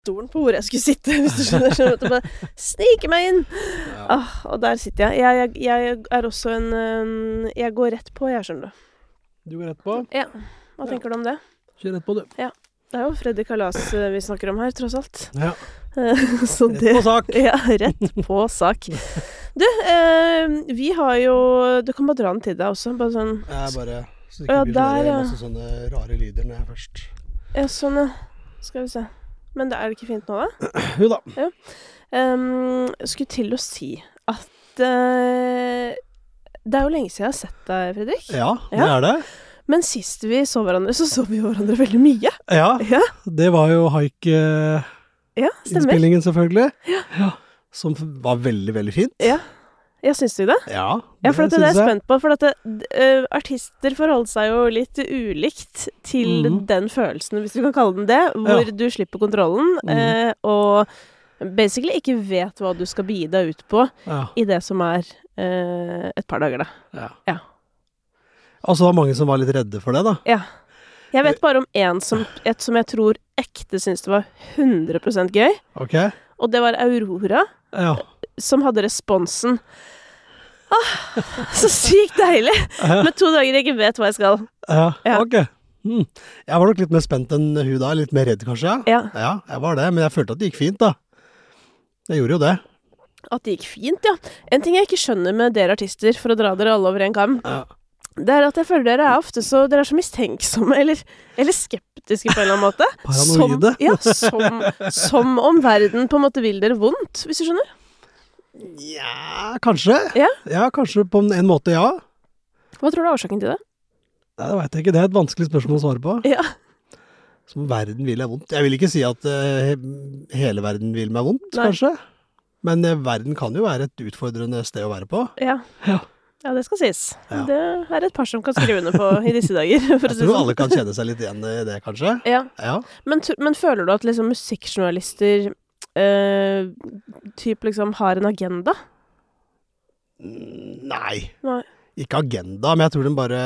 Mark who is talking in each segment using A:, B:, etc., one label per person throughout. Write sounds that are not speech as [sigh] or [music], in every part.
A: stolen på hvor jeg skulle sitte, [laughs] hvis du skjønner. Så jeg måtte bare snike meg inn.
B: Ja.
A: Ah, og der sitter jeg. Jeg, jeg. jeg er også en øhm, Jeg går rett på, jeg, skjønner du.
B: Du går rett på.
A: Ja. Hva tenker du om det?
B: Kjør rett på, du.
A: Det er jo Freddy Kalas øh, vi snakker om her, tross alt.
B: Ja.
A: [laughs] Så
B: Rett
A: det
B: på sak.
A: Ja, rett på [laughs] sak. Du, øhm, vi har jo Du kan bare dra den til deg også. Bare sånn
B: Jeg bare så det
A: Å, ja,
B: ikke blir sånne,
A: der, ja.
B: masse sånne rare lyder når jeg først
A: Ja, sånn, ja. Skal vi se. Men det er det ikke fint nå, da?
B: Jo da.
A: Ehm, skulle til å si at eh, Det er jo lenge siden jeg har sett deg, Fredrik.
B: Ja, det
A: Ja.
B: er det.
A: Men sist vi så hverandre, så så vi jo hverandre veldig mye.
B: Ja,
A: Ja,
B: det var jo haik-innspillingen,
A: ja stemmer.
B: selvfølgelig. Ja. Som var veldig, veldig fint.
A: Ja. ja, syns du det?
B: Ja,
A: Ja, for at det er det
B: synes
A: jeg er
B: jeg.
A: spent på. For at det, d- eh, artister forholder seg jo litt ulikt til
B: Mhm.
A: den følelsen, hvis du kan kalle den det, hvor
B: Ja.
A: du slipper kontrollen
B: Mhm.
A: eh, og basically ikke vet hva du skal begi deg ut på
B: Ja.
A: i det som er eh, et par dager, da.
B: Ja.
A: Ja.
B: Altså, det var mange som var litt redde for det, da.
A: Jeg vet bare om én som, et som jeg tror ekte syntes det var 100 gøy.
B: Ok?
A: Og det var Aurora,
B: Ja.
A: som hadde responsen. Ah, så sykt deilig!
B: Ja.
A: Med to dager jeg ikke vet hva jeg skal.
B: ja.
A: Ja.
B: Ok. Mm. Jeg var nok litt mer spent enn hun da. Litt mer redd, kanskje.
A: Ja,
B: Ja, jeg var det. Men jeg følte at det gikk fint, da. Jeg gjorde jo det.
A: At det gikk fint, ja. En ting jeg ikke skjønner med dere artister, for å dra dere alle over en kam,
B: Ja.
A: det er at jeg føler dere er ofte så Dere er så mistenksomme, eller, eller skeptiske på en eller annen måte.
B: Paranoide.
A: Som, ja, som, som om verden på en måte vil dere vondt, hvis du skjønner.
B: Nja, kanskje.
A: Ja.
B: kanskje på en måte, ja.
A: Hva tror du er årsaken til det?
B: Nei, det veit jeg ikke. Det er et vanskelig spørsmål å svare på.
A: Ja.
B: Som verden vil jeg vondt. Jeg vil ikke si at eh, he- hele verden vil meg vondt,
A: Nei.
B: kanskje. Men eh, verden kan jo være et utfordrende sted å være på.
A: Ja.
B: Ja.
A: Ja, det skal sies.
B: Ja.
A: Det er et par som kan skrive under på i disse dager. [laughs] For å
B: Jeg
A: si det
B: tror
A: sånn.
B: alle kan kjenne seg litt igjen i det, kanskje.
A: Ja.
B: Ja.
A: Men, tr- men føler du at liksom musikkjournalister eh, typ liksom har en agenda?
B: Mm, Nei.
A: Nei.
B: Ikke agenda, men jeg tror de bare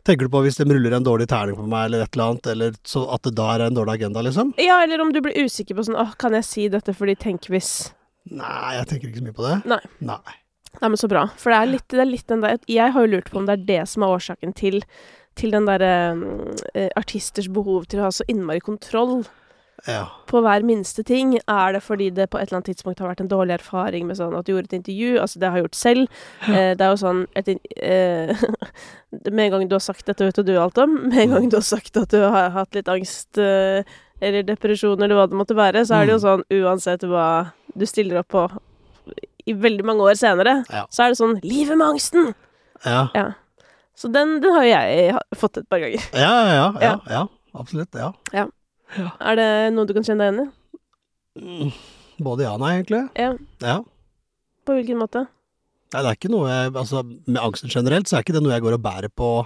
B: Tenker du på hvis de ruller en dårlig terning på meg eller et eller annet, eller så at det der er en dårlig agenda, liksom?
A: Ja, eller om du blir usikker på sånn åh, kan jeg si dette fordi tenk hvis
B: Nei, jeg tenker ikke så mye på det.
A: Nei.
B: Nei.
A: Nei, men så bra. For det er litt, det er litt den der Jeg har jo lurt på om det er det som er årsaken til til den derre artisters behov til å ha så innmari kontroll
B: Ja.
A: på hver minste ting. Er det fordi det på et eller annet tidspunkt har vært en dårlig erfaring med sånn at du gjorde et intervju? Altså, det har jeg gjort selv. Eh, det er jo sånn et, in- eh, [laughs] Med en gang du har sagt dette, vet jo du alt om. Med en gang du har sagt at du har hatt litt angst eh, eller depresjon eller hva det måtte være, så er det jo sånn uansett hva du stiller opp på i veldig mange år senere,
B: Ja.
A: så er det sånn 'Livet med angsten'!
B: Ja.
A: Ja. Så den, den har jo jeg ha- fått et par ganger.
B: Ja, ja, ja. ja,
A: Ja.
B: ja. Absolutt. Ja.
A: Er det noe du kan kjenne deg igjen i?
B: Mm, Både ja og nei, egentlig.
A: Ja.
B: Ja.
A: På hvilken måte?
B: Nei, det er ikke noe jeg Altså, med angsten generelt, så er ikke det noe jeg går og bærer på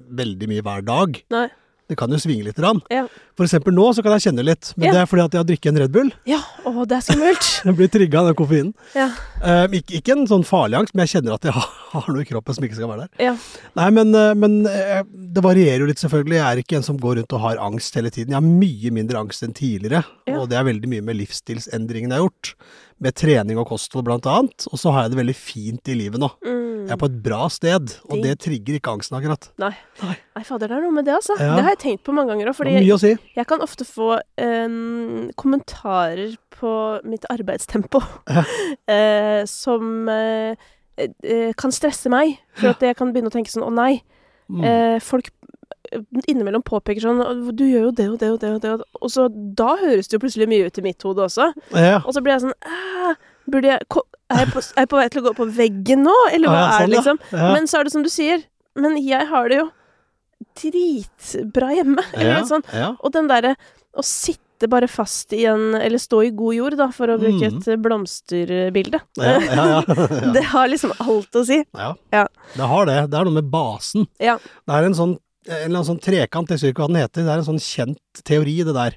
B: veldig mye hver dag.
A: Nei.
B: Det kan jo svinge litt. Rann.
A: Ja.
B: For eksempel nå så kan jeg kjenne litt, men
A: Ja.
B: det er fordi at jeg har drukket en Red Bull.
A: Ja, å, det er skummelt!
B: Jeg blir trigga av den koffeinen.
A: Ja.
B: Eh, ikke, ikke en sånn farlig angst, men jeg kjenner at jeg har, [laughs] har noe i kroppen som ikke skal være der.
A: [laughs] Ja.
B: Nei, men, eh, men eh, det varierer jo litt, selvfølgelig. Jeg er ikke en som går rundt og har angst hele tiden. Jeg har mye mindre angst enn tidligere,
A: Ja.
B: og det er veldig mye med livsstilsendringene jeg har gjort. Med trening og kosthold, blant annet. Og så har jeg det veldig fint i livet nå.
A: Mm.
B: Jeg er på et bra sted, og
A: Digg.
B: det trigger ikke angsten akkurat.
A: Nei. Nei, fader, det er noe med det, altså.
B: Ja.
A: Det har jeg tenkt på mange ganger òg,
B: Det
A: fordi Eh,
B: var mye å si.
A: jeg kan ofte få em, kommentarer på mitt arbeidstempo [laughs] eh, som eh, eh, kan stresse meg, for at jeg kan begynne å tenke sånn å nei.
B: Mm.
A: Eh, folk eh, innimellom påpeker sånn «Å, du gjør jo det og det og det, og det, og det. Og så da høres det jo plutselig mye ut i mitt hode også.
B: Ja.
A: Og så blir jeg sånn «Æ, Burde jeg ko- Er jeg på, er jeg på vei til å gå på veggen nå, eller hva
B: Ja,
A: er det,
B: sånn, ja.
A: liksom?
B: Ja.
A: Men så er det som du sier. Men jeg har det jo dritbra hjemme. [laughs] Eller sånn-
B: Ja.
A: noe sånt.
B: Ja.
A: Og den derre å sitte bare fast i en Eller stå i god jord, da, for å bruke
B: Mm.
A: et eh, blomsterbilde. [laughs]
B: Ja. Ja. Ja. Ja.
A: Det har liksom alt å si.
B: Ja.
A: Ja.
B: Det har det. Det er noe med basen.
A: Ja.
B: Det er en sånn, en eller annen sånn trekant, jeg husker ikke hva den heter, det er en sånn kjent teori, det der.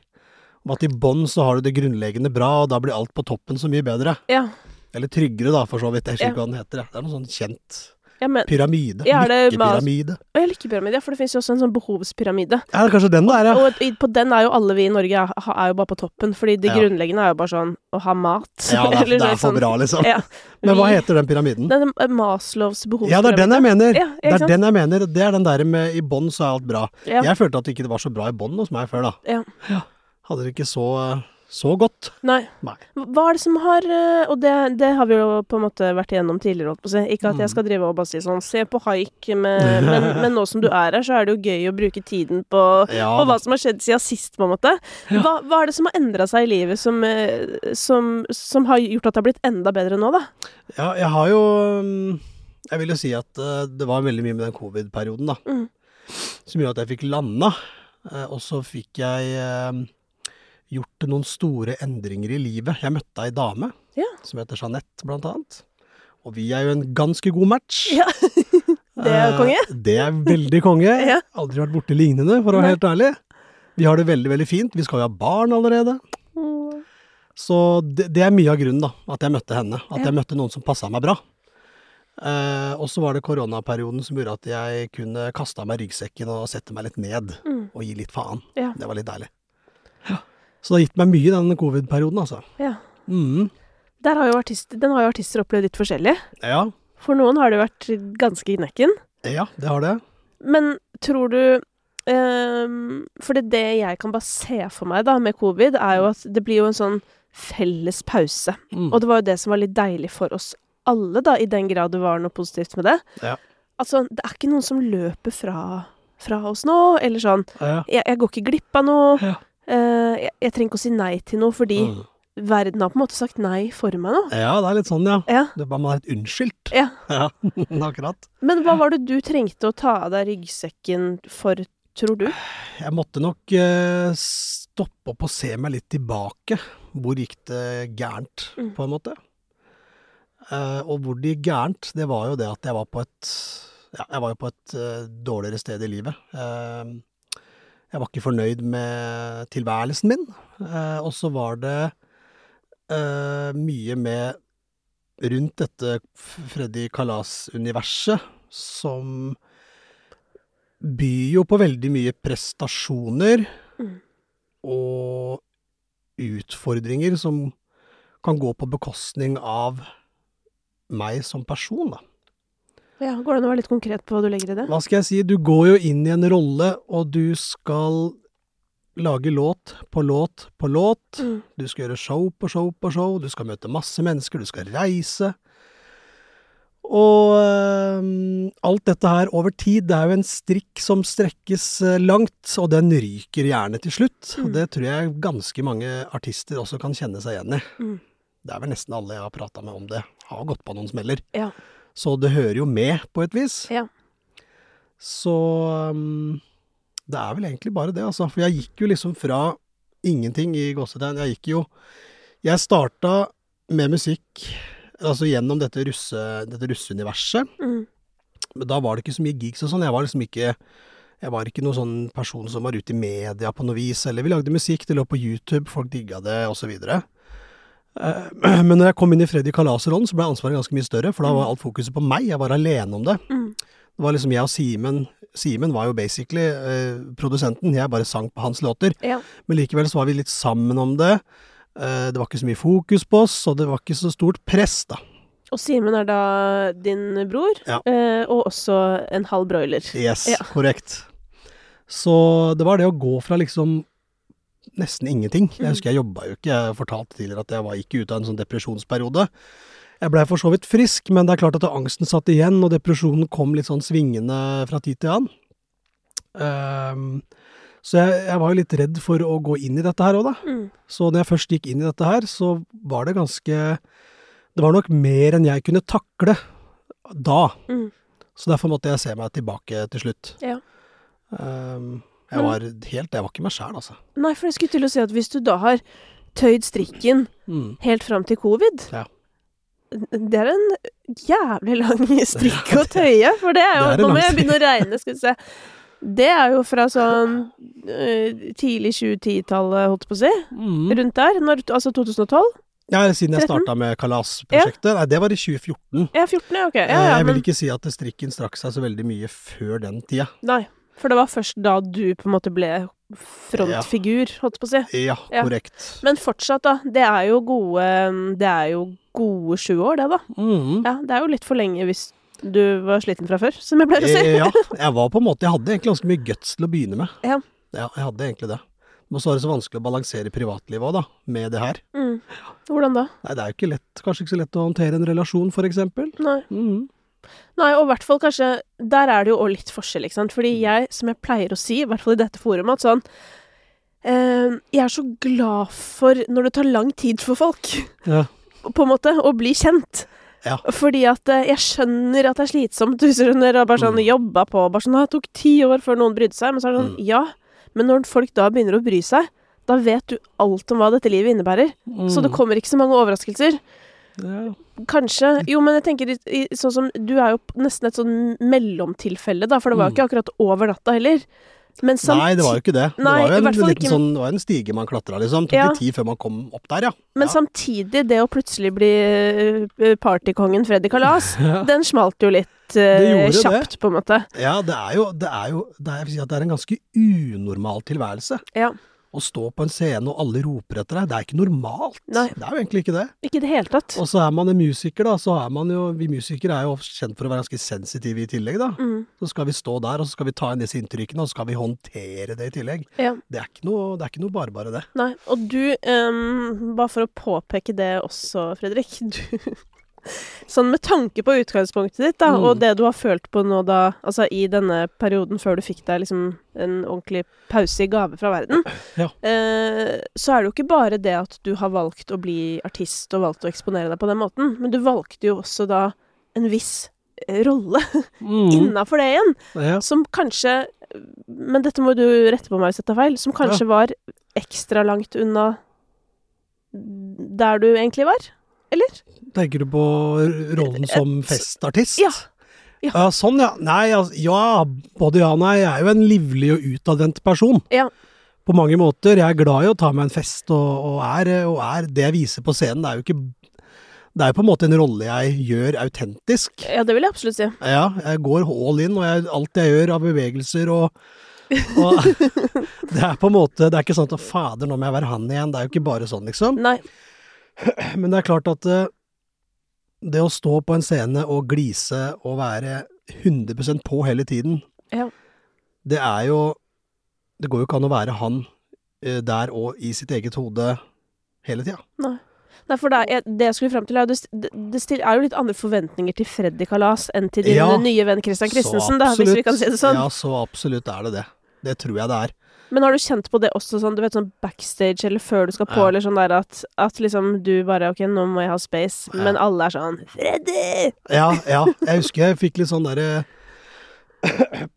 B: Om at i bånn så har du det grunnleggende bra, og da blir alt på toppen så mye bedre.
A: Ja.
B: Eller tryggere, da, for så vidt. Jeg husker
A: Ja.
B: ikke hva den heter. jeg. Det er noe sånn kjent
A: Ja, men,
B: Pyramide.
A: Ja, er det
B: Lykkepyramide.
A: og jeg liker pyramide, for det fins jo også en sånn behovspyramide.
B: Ja, det er kanskje den det er, ja.
A: Og i- på den er jo alle vi i Norge er, er jo bare på toppen, fordi det
B: Ja.
A: grunnleggende er jo bare sånn å ha mat.
B: Ja, det er,
A: [laughs] Eller
B: det er
A: sånn-
B: for bra, liksom.
A: Ja.
B: Men hva
A: Vi-
B: heter den pyramiden?
A: Den er Maslows
B: Ja, det er den
A: behovspyramide.
B: jeg mener.
A: Ja,
B: Det
A: ikke
B: er
A: sant?
B: den jeg mener. Det er den der med i bånn så er alt bra.
A: Ja.
B: Jeg følte at det ikke var så bra i bånn hos meg før, da.
A: Ja.
B: Hadde det ikke så, så godt.
A: Nei.
B: Nei.
A: Hva er det som har eh, Og det, det har vi jo på en måte vært igjennom tidligere, holdt på å si. Ikke at
B: Mm.
A: jeg skal drive og bare si sånn Se på haik, med,
B: [laughs]
A: men, men nå som du er her, så er det jo gøy å bruke tiden på
B: Ja,
A: på hva som har skjedd siden sist, på en måte. Hva, hva er det som har endra seg i livet som, eh, som, som har gjort at det har blitt enda bedre nå, da?
B: ja, jeg har jo mm, Jeg vil jo si at eh, det var veldig mye med den covid-perioden, da.
A: Mm.
B: Som gjorde at jeg fikk landa. Eh, Og så fikk jeg eh, gjort noen store endringer i livet. Jeg møtte ei dame
A: Ja.
B: som heter Jeanette, blant annet. Og vi er jo en ganske god match.
A: Ja. [laughs] Det er jo konge.
B: Eh, Det er veldig konge.
A: [laughs] Ja.
B: Aldri vært borti lignende, for
A: Nei.
B: å være helt ærlig. Vi har det veldig, veldig fint. Vi skal jo ha barn allerede. Så det, det er mye av grunnen, da. At jeg møtte henne. At
A: Ja.
B: jeg møtte noen som passa meg bra. Eh, og så var det koronaperioden som gjorde at jeg kunne kaste av meg ryggsekken og sette meg litt ned.
A: Mm.
B: Og gi litt faen.
A: Ja.
B: Det var litt deilig. Så det har gitt meg mye den covid-perioden, altså.
A: Ja.
B: Mm.
A: Der har jo artist, den har jo artister opplevd litt forskjellig.
B: Ja,
A: For noen har det jo vært ganske gnekken.
B: ja, det har det.
A: Men tror du ehm, For det, det jeg kan bare se for meg da, med covid, er jo at det blir jo en sånn felles pause.
B: Mm.
A: Og det var jo det som var litt deilig for oss alle, da, i den grad det var noe positivt med det.
B: Ja.
A: Altså, det er ikke noen som løper fra, fra oss nå, eller sånn.
B: Ja.
A: Jeg, jeg går ikke glipp av noe.
B: Ja.
A: Eh, jeg, jeg trenger ikke å si nei til noe, fordi
B: Mm.
A: verden har på en måte sagt nei for meg nå.
B: ja, det er litt sånn, ja.
A: Ja.
B: Det er bare man er litt unnskyldt.
A: Ja.
B: [laughs] ja. Akkurat.
A: Men hva var det du trengte å ta av deg ryggsekken for, tror du?
B: Jeg måtte nok eh, stoppe opp og se meg litt tilbake. Hvor gikk det gærent,
A: Mm.
B: på en måte? Eh, og hvor det gikk gærent, det var jo det at jeg var på et ja, Jeg var jo på et eh, dårligere sted i livet. Eh, jeg var ikke fornøyd med tilværelsen min. Eh, og så var det eh, mye med rundt dette F- Freddy Kalas-universet som byr jo på veldig mye prestasjoner
A: Mm.
B: og utfordringer som kan gå på bekostning av meg som person, da.
A: Ja, Går det an å være litt konkret på hva du legger i det?
B: Hva skal jeg si, du går jo inn i en rolle, og du skal lage låt på låt på låt.
A: Mm.
B: Du skal gjøre show på show på show, du skal møte masse mennesker, du skal reise. Og øhm, alt dette her over tid, det er jo en strikk som strekkes eh, langt, og den ryker gjerne til slutt. Og
A: Mm.
B: det tror jeg ganske mange artister også kan kjenne seg igjen i.
A: Mm.
B: Det er vel nesten alle jeg har prata med om det, har gått på noen smeller.
A: Ja.
B: Så det hører jo med, på et vis.
A: Ja.
B: Så øhm, det er vel egentlig bare det, altså. For jeg gikk jo liksom fra ingenting i gåsetegn. Jeg gikk jo Jeg starta med musikk altså gjennom dette, russe, dette russeuniverset.
A: Mm.
B: Men da var det ikke så mye gigs og sånn. Jeg var liksom ikke jeg var ikke noen sånn person som var ute i media på noe vis, eller vi lagde musikk, det lå på YouTube, folk digga det, osv. Eh, [clears throat] Men når jeg kom inn i Freddy Kalas-rollen, så ble ansvaret ganske mye større, for da var alt fokuset på meg, jeg var alene om det.
A: Mm.
B: Det var liksom jeg og Simen Simen var jo basically eh, produsenten, jeg bare sang på hans låter.
A: Ja.
B: Men likevel så var vi litt sammen om det. Eh, det var ikke så mye fokus på oss, og det var ikke så stort press, da.
A: Og Simen er da din bror,
B: Ja.
A: eh, og også en halv broiler.
B: Yes,
A: Ja.
B: korrekt. Så det var det å gå fra liksom nesten ingenting. Jeg husker jeg jobba jo ikke, jeg fortalte tidligere at jeg var ikke ute av en sånn depresjonsperiode. Jeg blei for så vidt frisk, men det er klart at angsten satt igjen, og depresjonen kom litt sånn svingende fra tid til annen. Ehm, så jeg, jeg var jo litt redd for å gå inn i dette her òg, da.
A: Mm.
B: Så når jeg først gikk inn i dette her, så var det ganske Det var nok mer enn jeg kunne takle da.
A: Mm.
B: Så derfor måtte jeg se meg tilbake til slutt.
A: Ja.
B: Ehm, jeg
A: Men-
B: var helt Jeg var ikke meg sjæl, altså.
A: Nei, for jeg skulle til å si at hvis du da har tøyd strikken
B: Mm.
A: helt fram til covid
B: Ja.
A: Det er en jævlig lang [laughs] strikk å tøye, for det er jo
B: Det er en
A: Nå må
B: lang
A: jeg begynne å regne, skal vi se. Det er jo fra sånn eh, tidlig 2010-tallet, holdt på å si.
B: Mm.
A: Rundt der. Når, altså 2012.
B: Ja, siden
A: 13?
B: jeg starta med kalasprosjektet. Nei, det var i 2014.
A: Ja, 14, ja, ok. Ja,
B: Eh,
A: ja,
B: jeg vil
A: men,
B: ikke si at strikken strakk seg så veldig mye før den tida.
A: nei, for det var først da du på en måte ble frontfigur, holdt jeg på å si.
B: Ja,
A: Ja.
B: korrekt.
A: Men fortsatt, da. Det er jo gode Det er jo gode sju år, det, da.
B: Mhm.
A: Ja, det er jo litt for lenge hvis du var sliten fra før, som jeg pleier å si.
B: Eh, ja, jeg var på en måte Jeg hadde egentlig ganske mye guts til å begynne med.
A: Ja.
B: jeg hadde egentlig det. Men så er det så vanskelig å balansere privatlivet òg, da, med det her.
A: Mm. Hvordan da?
B: Nei, det er jo ikke lett, kanskje ikke så lett å håndtere en relasjon, for eksempel.
A: Nei.
B: Mhm.
A: Nei, og i hvert fall kanskje Der er det jo òg litt forskjell, ikke sant. Fordi jeg, som jeg pleier å si, i hvert fall i dette forumet, at sånn eh, Jeg er så glad for når det tar lang tid for folk,
B: Ja.
A: på en måte, å bli kjent.
B: Ja.
A: Fordi at eh, jeg skjønner at det er slitsomt, [laughs] du skjønner, og bare sånn
B: Mm.
A: jobba på, bare sånn «Å, Det tok ti år før noen brydde seg, men så er det sånn Ja, men når folk da begynner å bry seg, da vet du alt om hva dette livet innebærer. Så det kommer ikke så mange overraskelser.
B: Mm. Ja.
A: Kanskje. Jo, men jeg tenker i, i, sånn som Du er jo p- nesten et sånn mellomtilfelle, da, for det var jo ikke akkurat over natta heller. Men
B: Mm. Nei, det var jo ikke det.
A: Nei, i
B: det var jo en
A: hvert fall
B: liten
A: ikke-
B: sånn, det var en stige man klatra, liksom. Tok
A: Ja.
B: litt tid før man kom opp der, ja.
A: Men
B: ja.
A: samtidig, det å plutselig bli eh, partykongen Freddy Kalas,
B: [laughs] Ja.
A: den smalt jo litt eh,
B: Det gjorde det.
A: kjapt, på en måte.
B: Ja, det er jo, det er jo det er, Jeg vil si at det er en ganske unormal tilværelse.
A: Ja.
B: Å stå på en scene og alle roper etter deg, det er ikke normalt.
A: Nei.
B: Det er jo egentlig ikke det.
A: Ikke i det hele tatt.
B: Og så er man en musiker, da, så er man jo Vi musikere er jo kjent for å være ganske sensitive i tillegg, da.
A: Mm,
B: Så skal vi stå der, og så skal vi ta inn disse inntrykkene, og så skal vi håndtere det i tillegg.
A: ja,
B: Det er ikke noe, det er ikke noe bare bare, det.
A: nei. Og du, eh, bare for å påpeke det også, Fredrik [laughs] du, Sånn med tanke på utgangspunktet ditt, da,
B: Mm.
A: og det du har følt på nå da, altså i denne perioden før du fikk deg liksom en ordentlig pause i gave fra verden,
B: Ja.
A: eh, så er det jo ikke bare det at du har valgt å bli artist og valgt å eksponere deg på den måten, men du valgte jo også da en viss eh, rolle innafor det igjen,
B: Mm. Ja.
A: som kanskje Men dette må du rette på meg hvis jeg tar feil, som kanskje var ekstra langt unna der du egentlig var? Eller?
B: Tenker du på rollen som festartist?
A: Ja.
B: Ja, sånn, ja. Nei, altså, ja, både ja og nei. Jeg er jo en livlig og utadvendt person.
A: Ja.
B: På mange måter. Jeg er glad i å ta meg en fest, og, og, er, og er Det jeg viser på scenen, det er jo ikke Det er jo på en måte en rolle jeg gjør autentisk.
A: Ja, det vil jeg absolutt si.
B: Ja, jeg går all in, og jeg, alt jeg gjør av bevegelser og,
A: [laughs]
B: og [laughs] Det er på en måte Det er ikke sånn at 'å, fader, nå må jeg være han igjen'. Det er jo ikke bare sånn, liksom.
A: Nei.
B: Men det er klart at eh, det å stå på en scene og glise og være 100 på hele tiden,
A: Ja.
B: det er jo Det går jo ikke an å være han eh, der og i sitt eget hode hele tida.
A: Nei, for det, er, det jeg skulle frem til, er jo det, det, det still- er jo litt andre forventninger til Freddy Kalas enn til din
B: Ja.
A: nye venn Christian Christensen, da, hvis vi kan si det sånn.
B: Ja, så absolutt er det det. Det tror jeg det er.
A: Men har du kjent på det også sånn, du vet sånn backstage eller før du skal på,
B: Ja.
A: eller sånn der at, at liksom du bare Ok, nå må jeg ha space,
B: Ja.
A: men alle er sånn Freddy!
B: Ja, ja. Jeg husker jeg fikk litt sånn derre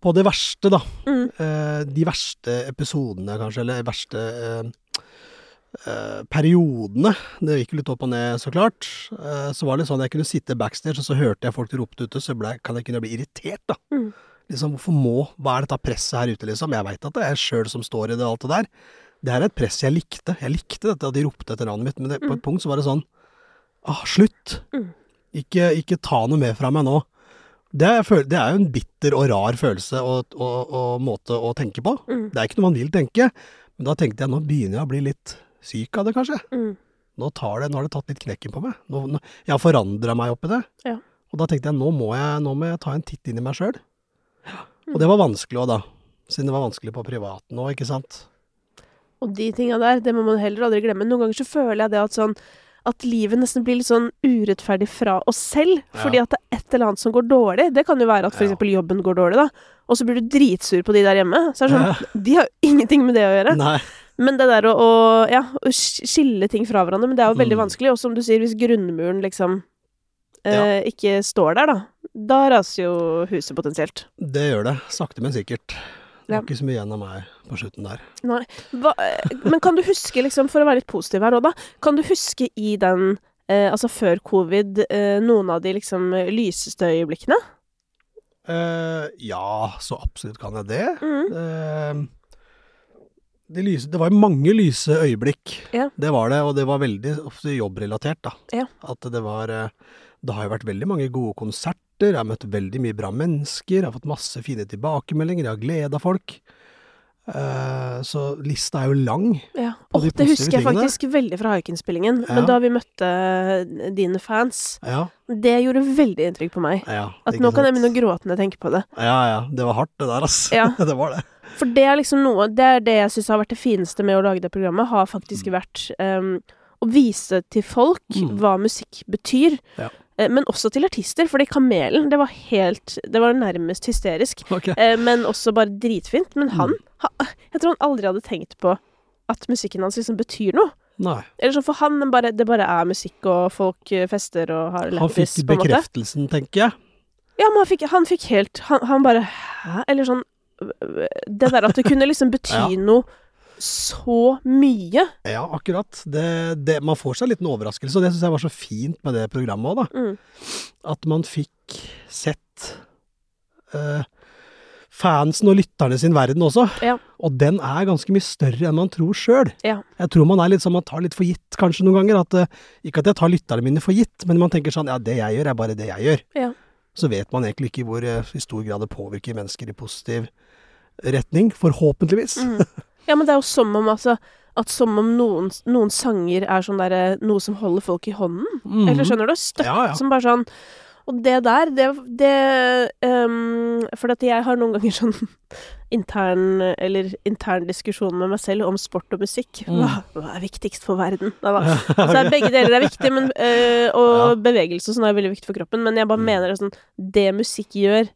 B: På det verste, da.
A: Mm.
B: Eh, de verste episodene, kanskje, eller verste eh, eh, periodene. Det gikk jo litt opp og ned, så klart. Eh, så var det litt sånn jeg kunne sitte backstage, og så hørte jeg folk ropte ute, så ble, kan jeg kunne bli irritert, da.
A: Mm.
B: Liksom, hvorfor må Hva er dette presset her ute, liksom? Jeg veit at det er jeg sjøl som står i det, alt det der. Det her er et press jeg likte. Jeg likte dette, at de ropte etter navnet mitt, men det, på et punkt så var det sånn Ah, slutt!
A: Mm.
B: Ikke, ikke ta noe mer fra meg nå. Det er, føl- det er jo en bitter og rar følelse og, og, og måte å tenke på.
A: Mm.
B: Det er ikke noe man vil tenke, men da tenkte jeg nå begynner jeg å bli litt syk av det, kanskje.
A: Mm.
B: Nå, tar det, nå har det tatt litt knekken på meg. Nå, nå, jeg har forandra meg oppi det.
A: Ja.
B: Og da tenkte jeg nå må jeg, nå må jeg ta en titt inn i meg sjøl.
A: Mm.
B: Og det var vanskelig òg, da. Siden det var vanskelig på privaten òg, ikke sant.
A: Og de tinga der, det må man heller aldri glemme. Noen ganger så føler jeg det at sånn at livet nesten blir litt sånn urettferdig fra oss selv,
B: Ja.
A: fordi at det er et eller annet som går dårlig. Det kan jo være at
B: Ja.
A: f.eks. eksempel jobben går dårlig, da, og så blir du dritsur på de der hjemme. Så er det sånn, De har jo ingenting med det å gjøre.
B: [laughs] Nei.
A: Men det der å, å, ja, å sk- skille ting fra hverandre, men det er jo veldig
B: Mm.
A: vanskelig. Og som du sier, hvis grunnmuren liksom eh,
B: Ja.
A: ikke står der, da, da raser jo huset potensielt.
B: Det gjør det. Sakte, men sikkert. Det
A: Ja.
B: var ikke så mye igjen av meg på slutten der.
A: Nei. Hva, eh, men kan du huske, liksom, for å være litt positiv her òg, da Kan du huske i den, eh, altså før covid, eh, noen av de liksom eh, lyseste øyeblikkene?
B: Mm. Eh, ja, så absolutt kan jeg det.
A: Mm.
B: Eh, de lyse, det var jo mange lyse øyeblikk.
A: Ja.
B: Det var det, og det var veldig ofte jobbrelatert, da.
A: Ja.
B: At det var eh, Det har jo vært veldig mange gode konserter, jeg har møtt veldig mye bra mennesker, jeg har fått masse fine tilbakemeldinger, jeg har gleda folk. Eh, så lista er jo lang.
A: Ja.
B: Og de
A: Åh, det husker
B: positive
A: jeg
B: tingene.
A: faktisk veldig fra haikenspillingen.
B: Ja.
A: Men da vi møtte eh, dine fans,
B: Ja,
A: det gjorde veldig inntrykk på meg.
B: ja.
A: At
B: ikke
A: nå kan jeg
B: sant?
A: begynne å gråte når jeg tenker på det.
B: Ja, ja. Det var hardt, det der, ass.
A: Ja.
B: [laughs] det var det.
A: For det er liksom noe Det er det jeg syns har vært det fineste med å lage det programmet, har faktisk vært em, å vise til folk
B: Mm.
A: hva musikk betyr.
B: Ja.
A: Eh, Men også til artister, fordi Kamelen, det var helt Det var nærmest hysterisk.
B: Ok.
A: Eh, Men også bare dritfint. Men han
B: Mm.
A: ha- Jeg tror han aldri hadde tenkt på at musikken hans liksom betyr noe.
B: Nei.
A: Eller sånn for han, den bare, det bare er musikk, og folk eh, fester og har
B: Han
A: lættis,
B: fikk
A: på en måte.
B: bekreftelsen, tenker jeg.
A: Ja, men han fikk, han fikk helt han, han bare Hæ? Eller sånn øh, Det der at det kunne liksom bety
B: [laughs] Ja.
A: noe så mye.
B: Ja, akkurat. Det, det, man får seg en liten overraskelse, og det syns jeg var så fint med det programmet òg, da.
A: Mm.
B: at man fikk sett eh, fansen og lytterne sin verden også.
A: Ja.
B: Og den er ganske mye større enn man tror sjøl.
A: Ja.
B: Jeg tror man er litt sånn, man tar litt for gitt kanskje noen ganger. At, eh, ikke at jeg tar lytterne mine for gitt, men man tenker sånn ja, det jeg gjør, er bare det jeg gjør.
A: Ja.
B: Så vet man egentlig ikke hvor eh, i stor grad det påvirker mennesker i positiv retning. Forhåpentligvis.
A: Mm. Ja, men det er jo som om altså at som om noen, noen sanger er sånn der, eh, noe som holder folk i hånden.
B: Mhm.
A: Eller skjønner du? Støtt
B: Ja, ja.
A: som bare sånn Og det der, det, det ehm, For at jeg har noen ganger sånn [laughs] intern Eller intern diskusjon med meg selv om sport og musikk.
B: Mm.
A: Hva, hva er viktigst for verden? Da,
B: [laughs]
A: da. Altså, er begge deler er viktig, men, eh, og bevegelse og sånn er veldig viktig for kroppen. Men jeg
B: Mm.
A: bare mener det sånn Det musikk gjør,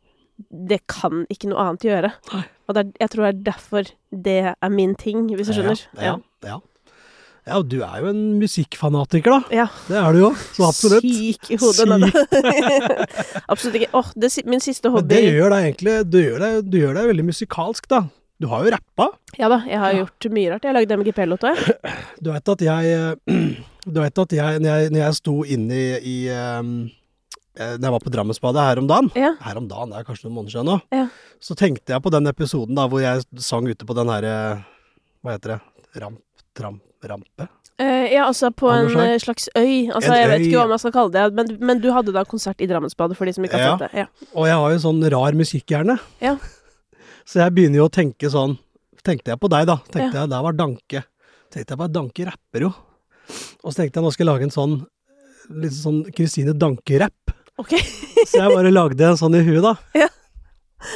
A: det kan ikke noe annet gjøre.
B: Nei.
A: Og det er, jeg tror det er derfor det er min ting, hvis du skjønner.
B: Ja, ja. ja. ja, og du er jo en musikkfanatiker, da.
A: Ja.
B: Det er du jo. Så absolutt.
A: Syk i hodet. nei, nei. [laughs] Absolutt ikke. Åh, det si- min siste
B: Men det
A: hobby
B: gjør deg egentlig du gjør deg, du gjør deg veldig musikalsk, da. Du har jo rappa.
A: Ja da, jeg har gjort mye rart. Jeg har lagd MGP-låta, jeg.
B: Du veit at jeg eh, Du vet at jeg, når jeg, når jeg sto inne i, i Da jeg var på Drammensbadet her om dagen
A: Ja.
B: Her om dagen, det er kanskje noen måneder siden nå.
A: Ja.
B: Så tenkte jeg på den episoden da hvor jeg sang ute på den herre Hva heter det? Ramp, tramp, rampe?
A: Eh, ja, altså på
B: Av noe
A: en
B: slag?
A: eh, slags øy. Altså,
B: En
A: jeg vet
B: øy,
A: ikke
B: ja.
A: hva man skal kalle det, men, men du hadde da konsert i Drammensbadet, for de som ikke har
B: Ja.
A: sett det. Ja.
B: Og jeg har jo sånn rar musikkhjerne.
A: Ja.
B: [laughs] Så jeg begynner jo å tenke sånn Tenkte jeg på deg, da. Tenkte
A: Ja.
B: jeg, Der var Danke. Tenkte jeg bare Danke rapper jo. Og så tenkte jeg nå skal jeg lage en sånn litt sånn Kristine Danke-rapp.
A: Ok. [laughs]
B: Så jeg bare lagde en sånn i huet, da.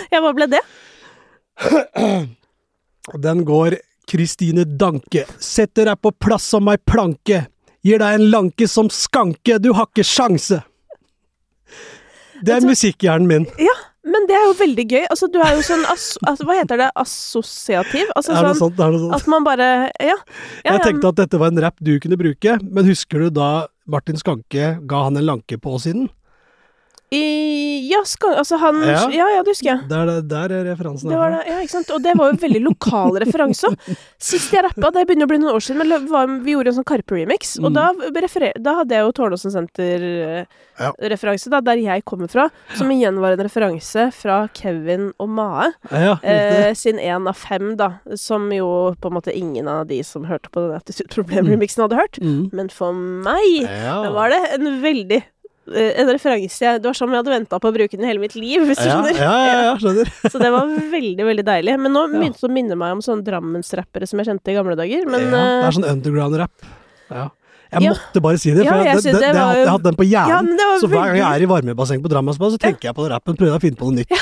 A: Ja, hva ble det?
B: Og den går Kristine Danke. Setter deg på plass som ei planke. Gir deg en lanke som skanke. Du har ikke sjanse. Det
A: Vet
B: er
A: du-
B: musikkhjernen min.
A: Men det er jo veldig gøy. Altså, du er jo sånn as altså, Hva heter det? Assosiativ? Altså
B: Er
A: sånn
B: det noe sånt? Er det noe sånt?
A: at man bare Ja. ja,
B: Jeg tenkte at dette var en rapp du kunne bruke, men husker du da Martin Skanke ga han en lanke på åssiden?
A: ja. I, ja, skal, altså han Ja,
B: Ja.
A: ja, det husker jeg.
B: Der, der er referansen.
A: Det var det, ja, ikke sant? Og det var jo en veldig lokal referanse også. Sist jeg rappa, det begynner å bli noen år siden, men det var, vi gjorde en sånn Karpe-remix. Og
B: Mm.
A: da, referer, da hadde jeg jo Tårnåsen
B: Ja.
A: Senter-referanse, da, der jeg kommer fra, som igjen var en referanse fra Kevin og Mae
B: Ja, riktig.
A: eh, sin én av fem, da, som jo på en måte ingen av de som hørte på den Attitude Problem-remixen hadde hørt.
B: Mm.
A: Men for meg
B: Ja.
A: da var Eh, det en veldig eh, en referanse jeg- Det var som jeg hadde venta på å bruke den i hele mitt liv, hvis du
B: ja,
A: skjønner.
B: ja, ja, ja, skjønner.
A: Så det var veldig, veldig deilig. Men nå
B: Ja.
A: begynte det å minne meg om sånne Drammensrappere som jeg kjente i gamle dager. [laughs] Men
B: ja, det
A: eh,
B: er sånn underground-rapp. Ja. Jeg
A: Ja.
B: måtte bare si det, for
A: Ja,
B: jeg,
A: jeg
B: det,
A: synes
B: det,
A: det
B: jeg
A: var
B: har-
A: jo-
B: jeg har hatt den på
A: eh, ja,
B: hjernen.
A: men det var
B: så hver gang
A: veldig
B: jeg er i varmebasseng på Drammensbanen, så tenker jeg på den rappen, prøver jeg å finne på noe nytt.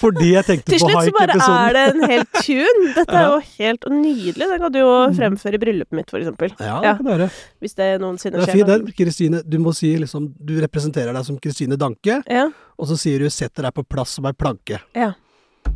B: Fordi jeg tenkte
A: [laughs] Til
B: på sånn.
A: slutt så bare
B: haik-episoden.
A: er det en hel tune.
B: [laughs]
A: Dette er jo helt nydelig. Den kan du jo
B: Mm.
A: fremføre i bryllupet mitt, for eksempel.
B: Ja, det
A: Ja.
B: kan du gjøre.
A: Hvis det noensinne
B: Det er
A: skjer.
B: fint, den. Kristine, du må si liksom Du representerer deg som Kristine Danke,
A: Ja.
B: og så sier du 'setter deg på plass som ei planke'.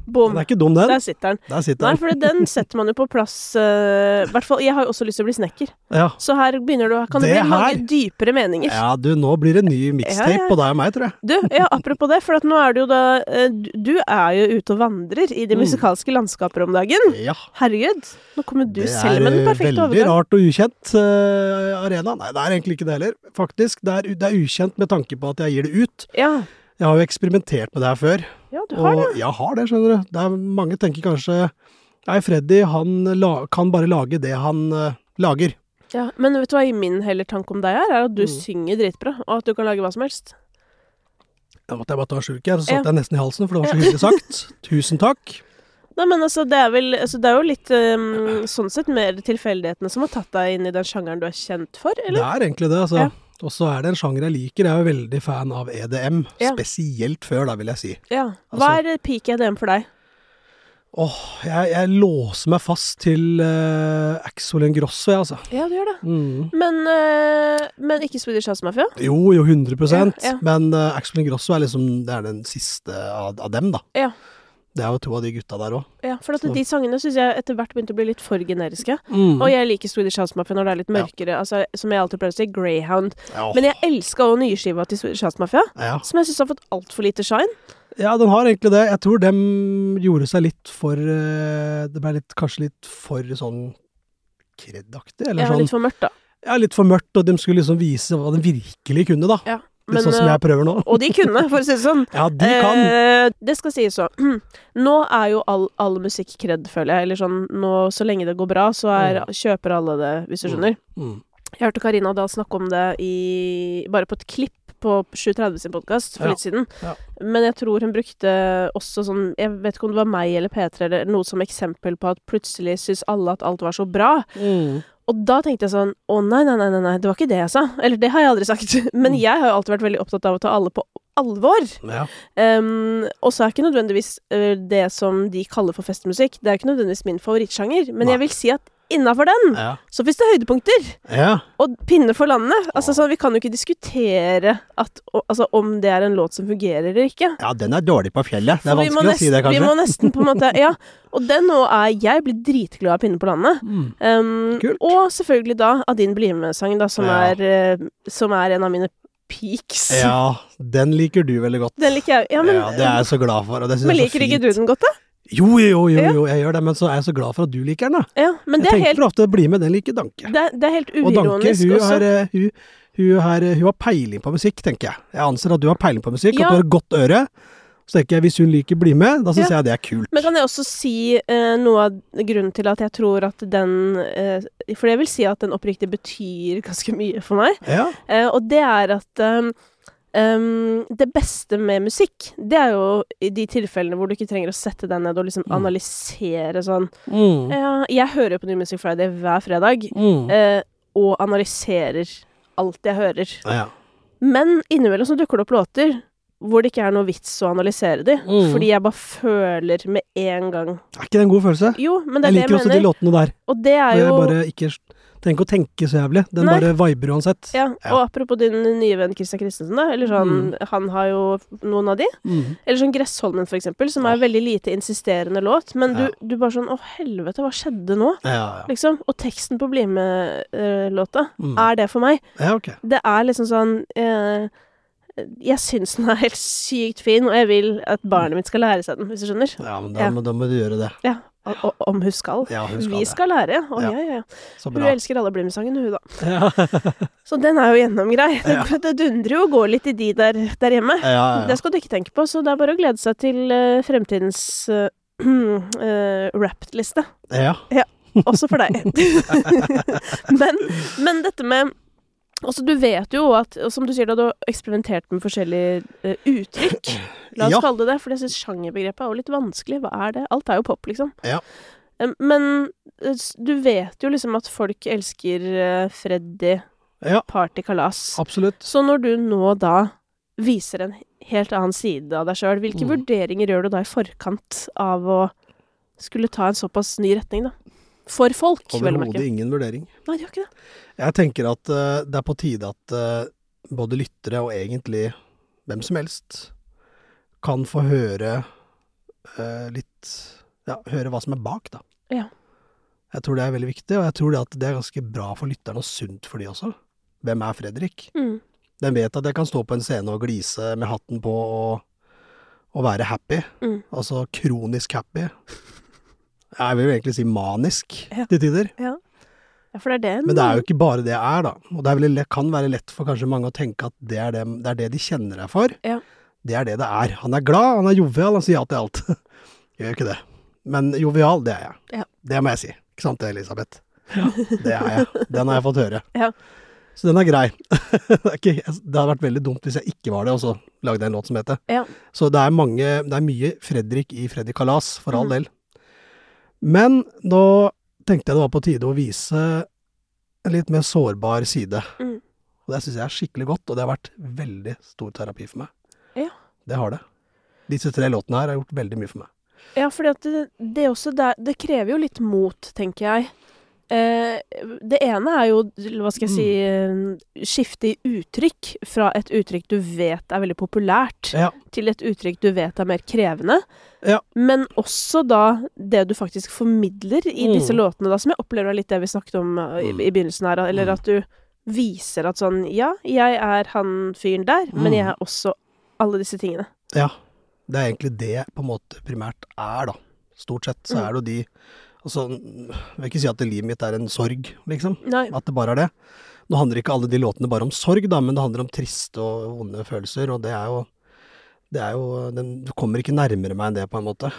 B: Den
A: Bom.
B: er ikke dum, den.
A: Der sitter den.
B: Der sitter
A: Nei,
B: den.
A: for den setter man jo på plass eh, hvert fall, Jeg har jo også lyst til å bli snekker,
B: Ja.
A: så her begynner du Kan det,
B: Det
A: bli mange
B: her-
A: dypere meninger.
B: ja, du, nå blir det ny mixtape
A: Ja, ja.
B: på deg og meg, tror jeg.
A: Du, ja, apropos det, for at nå er du jo da eh, du- Du er jo ute og vandrer i de
B: Mm.
A: musikalske landskaper om dagen.
B: Ja.
A: Herregud, nå kommer du
B: det
A: selv med
B: er
A: den
B: eh,
A: perfekte
B: veldig
A: overgangen.
B: rart og ukjent eh, arena. Nei, det er egentlig ikke det heller. Faktisk, det er, u- det er ukjent med tanke på at jeg gir det ut.
A: Ja.
B: Jeg har jo eksperimentert med det her før.
A: ja, du har det.
B: og jeg har det, skjønner du. Det er, mange tenker kanskje Nei, Freddy han la, kan bare lage det han eh, lager.
A: Ja, men vet du hva min heller tanke om deg er? Er at du
B: Mm.
A: synger dritbra, og at du kan lage hva som helst.
B: Da måtte jeg bare ta en slurk her, så satt
A: Ja.
B: jeg nesten i halsen, for det var så hyggelig sagt. Tusen takk.
A: Nei, men altså, det er vel altså, Det er jo litt ehm, sånn sett mer tilfeldighetene som har tatt deg inn i den sjangeren du er kjent for, eller?
B: Det er egentlig det, altså.
A: Ja.
B: Og så er det en sjanger jeg liker. Jeg er jo veldig fan av EDM.
A: Ja.
B: Spesielt før, da, vil jeg si.
A: Ja. Hva
B: Altså-
A: er eh, peak EDM for deg?
B: Åh, jeg, jeg låser meg fast til uh, Axel Ingrosso, jeg, altså.
A: Ja, du gjør det.
B: Mm.
A: Men, eh, men ikke Swedish House Mafia?
B: Jo, jo, 100
A: Ja, ja.
B: Men uh, Axel Ingrosso er liksom det er den siste av, av dem, da.
A: Ja.
B: Det er jo to av de gutta der òg.
A: Ja, for at
B: Så-
A: de sangene syns jeg etter hvert begynte å bli litt for generiske.
B: Mm.
A: Og jeg liker Swedish House Mafia når det er litt
B: Ja.
A: mørkere. Altså, som jeg alltid pleier å si, Greyhound.
B: Ja.
A: Men jeg elska òg nyskiva til Swedish House Mafia,
B: ja.
A: som jeg syns har fått altfor lite shine.
B: Ja, den har egentlig det. Jeg tror dem gjorde seg litt for eh, Det ble litt, kanskje litt for sånn kredaktig, eller
A: Jeg
B: sånn
A: var litt for mørkt, da.
B: Ja, litt for mørkt, og de skulle liksom vise hva de virkelig kunne, da.
A: Ja,
B: litt
A: men,
B: sånn som
A: eh,
B: jeg prøver nå.
A: Og de kunne, for å si det sånn.
B: Ja, [laughs] de kan!
A: Eh, det skal sies så. [clears throat] Nå er jo all, all musikk kred, føler jeg. Eller sånn, nå, så lenge det går bra, så er, kjøper alle det, hvis du
B: Mm.
A: skjønner.
B: Mm.
A: Jeg hørte Karina Dahl snakke om det i, bare på et klipp på 730 sin podkast for
B: Ja.
A: litt siden.
B: Ja.
A: Men jeg tror hun brukte også sånn Jeg vet ikke om det var meg eller P3 eller noe som eksempel på at plutselig syns alle at alt var så bra.
B: Mm.
A: Og da tenkte jeg sånn Å nei, nei, nei, nei, nei, det var ikke det jeg sa. Eller det har jeg aldri sagt. [laughs] Men
B: Mm.
A: jeg har jo alltid vært veldig opptatt av å ta alle på alvor.
B: Ja.
A: Um, og så er ikke nødvendigvis ø, det som de kaller for festmusikk, det er ikke nødvendigvis min favorittsjanger, men
B: Nei.
A: jeg vil si at innafor den
B: Ja.
A: så fins det høydepunkter!
B: ja.
A: Og pinne for landet. Altså, sånn, vi kan jo ikke diskutere at, o, altså, om det er en låt som fungerer eller ikke.
B: Ja, den er dårlig på fjellet. Det
A: Så
B: er
A: vi må
B: vanskelig å si det,
A: nesten- Vi må
B: kanskje.
A: nesten på en måte Ja. Og den nå er Jeg blir dritglad av Pinne på landet.
B: Mm.
A: Um,
B: Kult.
A: og selvfølgelig da Adin Blimesang, da, som,
B: Ja.
A: er, ø, som er en av mine peaks.
B: Ja, den liker du veldig godt.
A: Den liker jeg. Ja, men,
B: ja, det er jeg så glad for. Og det synes
A: men
B: jeg er så
A: liker ikke
B: fint.
A: du den godt, da?
B: Jo, jo, jo,
A: Ja.
B: jo, jeg gjør det, men så er jeg så glad for at du liker den, da.
A: Ja, men det
B: jeg
A: er helt
B: tenker ofte 'bli med, den liker Danke'.
A: Det, er- det er helt
B: Og Danke,
A: uironisk
B: hun,
A: også.
B: er, eh, hun, hun, er, eh, hun har peiling på musikk, tenker jeg. Jeg anser at du har peiling på musikk,
A: Ja.
B: at du har et godt øre. Så tenker jeg, hvis hun liker 'bli med', da syns
A: Ja.
B: jeg det er kult.
A: Men kan jeg også si eh, noe av grunnen til at jeg tror at den eh, For jeg vil si at den oppriktig betyr [laughs] ganske mye for meg.
B: Ja.
A: Eh, og det er at eh, eh, det beste med musikk, det er jo i de tilfellene hvor du ikke trenger å sette deg ned og liksom
B: Mm.
A: analysere sånn
B: Mm.
A: ja, Jeg hører jo på New Music Friday hver fredag,
B: Mm.
A: eh, og analyserer alt jeg hører.
B: Ja.
A: Men innimellom så dukker det opp låter hvor det ikke er noe vits å analysere de.
B: Mm.
A: Fordi jeg bare føler med en gang
B: Er ikke det en god følelse?
A: Jo, men det
B: Jeg
A: er det
B: liker
A: jeg
B: også de
A: mener.
B: låtene der.
A: Og det er
B: Hvor jeg
A: jo
B: bare ikke trenger ikke å tenke så jævlig. Den
A: Nei.
B: bare viber uansett.
A: ja,
B: Ja.
A: Og apropos din nye venn Christian Christensen, da. Eller sånn, Han har jo noen av de.
B: Mm.
A: Eller sånn Gressholmen, for eksempel, som er en veldig lite insisterende låt. Men
B: Ja.
A: du, du bare sånn Å, helvete, hva skjedde nå?
B: ja, ja.
A: Liksom. Og teksten på Bli med-låta
B: Mm.
A: er det for meg.
B: ja ok.
A: Det er liksom sånn eh, Jeg syns den er helt sykt fin, og jeg vil at barnet mitt skal lære seg den, hvis du skjønner.
B: Ja, men da,
A: Ja.
B: må- da må du gjøre det.
A: Ja. og- og- Om hun skal.
B: Ja, hun skal
A: Vi
B: det.
A: skal lære. Å,
B: Ja.
A: ja, ja, ja.
B: Så
A: Hun
B: bra.
A: elsker alle Blim-sangene, hun, da.
B: Ja,
A: Så den er jo gjennomgrei. [laughs] Det, det dundrer jo og går litt i de der, der hjemme.
B: ja, ja.
A: Det skal du ikke tenke på, så det er bare å glede seg til eh, fremtidens [clears throat] eh, uh, Wrapped-liste.
B: ja.
A: Også for deg. [laughs] men, men dette med Altså, du vet jo at, og som du sier, da du har eksperimentert med forskjellige eh, uttrykk. La oss
B: Ja.
A: kalle det det, for jeg syns sjangerbegrepet er jo litt vanskelig. Hva er det? Alt er jo pop, liksom.
B: Ja.
A: Eh, Men eh, s- du vet jo liksom at folk elsker eh, Freddy,
B: Ja.
A: partykalas.
B: Absolutt.
A: Så når du nå da viser en helt annen side av deg sjøl, hvilke
B: Mm.
A: vurderinger gjør du da i forkant av å skulle ta en såpass ny retning, da? For folk, vel å merke.
B: Overhodet ingen vurdering.
A: Nei, det gjør ikke det.
B: Jeg tenker at eh, det er på tide at eh, både lyttere og egentlig hvem som helst kan få høre eh, litt Ja, høre hva som er bak, da.
A: Ja.
B: Jeg tror det er veldig viktig, og jeg tror det at det er ganske bra for lytterne og sunt for de også. Hvem er Fredrik?
A: Mm.
B: Den vet at jeg kan stå på en scene og glise med hatten på og, og være happy.
A: Mm.
B: Altså kronisk happy. Jeg vil jo egentlig si manisk
A: Ja.
B: til tider.
A: Ja, for det er det
B: Men det er jo ikke bare det jeg er, da. Og det er veldig, lett- kan være lett for kanskje mange å tenke at det er det, det, er det de kjenner deg for.
A: Ja.
B: [laughs] Det er det det er. Han er glad, han er jovial, han sier ja til alt. Gjør jo ikke det. Men jovial, det er jeg.
A: Ja.
B: Det må jeg si. Ikke sant det, Elisabeth? Det er jeg. Den har jeg fått høre.
A: Ja.
B: Så den er grei. [laughs] det, er ikke, altså, det hadde vært veldig dumt hvis jeg ikke var det, og så lagde jeg en låt som het det.
A: Ja.
B: Så det er, mange, det er mye Fredrik i Freddy Kalas, for all
A: Mhm.
B: del. Men nå tenkte jeg det var på tide å vise en litt mer sårbar side.
A: Mhm.
B: Og det syns jeg er skikkelig godt, og det har vært veldig stor terapi for meg.
A: Ja.
B: Det har det. Disse tre låtene her har gjort veldig mye for meg.
A: Ja, fordi at det, det, er også der, det krever jo litt mot, tenker jeg. Eh, det ene er jo, hva skal jeg
B: Mm.
A: si, eh, skifte i uttrykk fra et uttrykk du vet er veldig populært,
B: Ja.
A: til et uttrykk du vet er mer krevende.
B: Ja.
A: Men også da det du faktisk formidler i
B: Mm.
A: disse låtene, da, som jeg opplever er litt det vi snakket om eh, i,
B: Mm.
A: i begynnelsen her, eller
B: Mm.
A: at du viser at sånn Ja, jeg er han fyren der, men
B: Mm.
A: jeg er også alle disse tingene.
B: Ja. Det er egentlig det jeg på en måte primært er, da. Stort sett så er det jo de Altså, jeg vil ikke si at livet mitt er en sorg, liksom.
A: Nei.
B: At det bare er det. Nå handler ikke alle de låtene bare om sorg, da, men det handler om triste og vonde følelser, og det er jo det er jo, den, Du kommer ikke nærmere meg enn det, på en måte.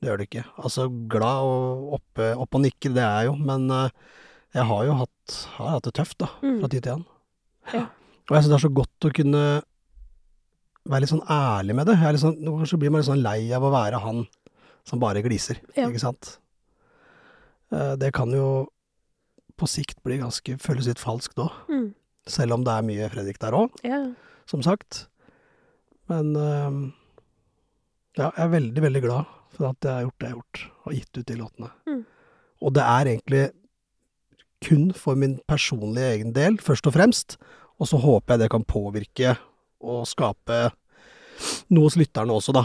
B: Det gjør det ikke. Altså, glad og oppe, opp og nikker, det er jeg jo, men eh, jeg har jo hatt, har hatt det tøft, da,
A: Mm.
B: fra tid til annen.
A: Ja.
B: Og jeg syns det er så godt å kunne være litt sånn ærlig med det. Jeg er litt sånn, noen ganger så blir man litt sånn lei av å være han som bare gliser,
A: Ja.
B: ikke sant. Eh, Det kan jo på sikt bli ganske, føles litt falskt òg,
A: Mm.
B: selv om det er mye Fredrik der òg,
A: Ja.
B: som sagt. Men eh, ja, jeg er veldig, veldig glad for at jeg har gjort det jeg har gjort, og gitt ut de låtene.
A: Mm.
B: Og det er egentlig kun for min personlige egen del, først og fremst, og så håper jeg det kan påvirke og skape noe hos lytterne også, da.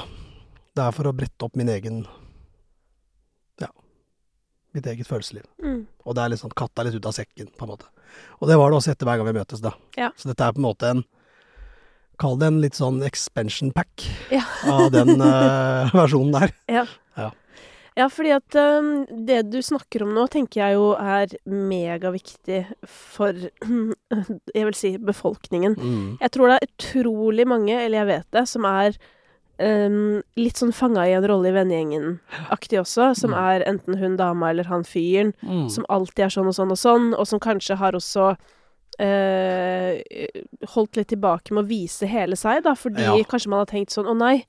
B: Det er for å brette opp min egen ja, mitt eget følelsesliv.
A: Mm.
B: Og det er litt sånn katta er litt ut av sekken, på en måte. Og det var det også etter hver gang vi møtes, da.
A: Ja.
B: Så dette er på en måte en Kall det en litt sånn expansion pack
A: Ja.
B: av
A: [laughs]
B: den eh, versjonen der.
A: Ja, fordi at øhm, det du snakker om nå, tenker jeg jo er megaviktig for [clears throat] Jeg vil si befolkningen. Jeg tror det er utrolig mange, eller jeg vet det, som er øhm, litt sånn fanga i en rolle i vennegjengen-aktig også. Som
B: Mm.
A: er enten hun dama eller han fyren.
B: Mm.
A: Som alltid er sånn og sånn og sånn, og som kanskje har også øh, holdt litt tilbake med å vise hele seg, da, fordi
B: Ja.
A: kanskje man har tenkt sånn Å nei,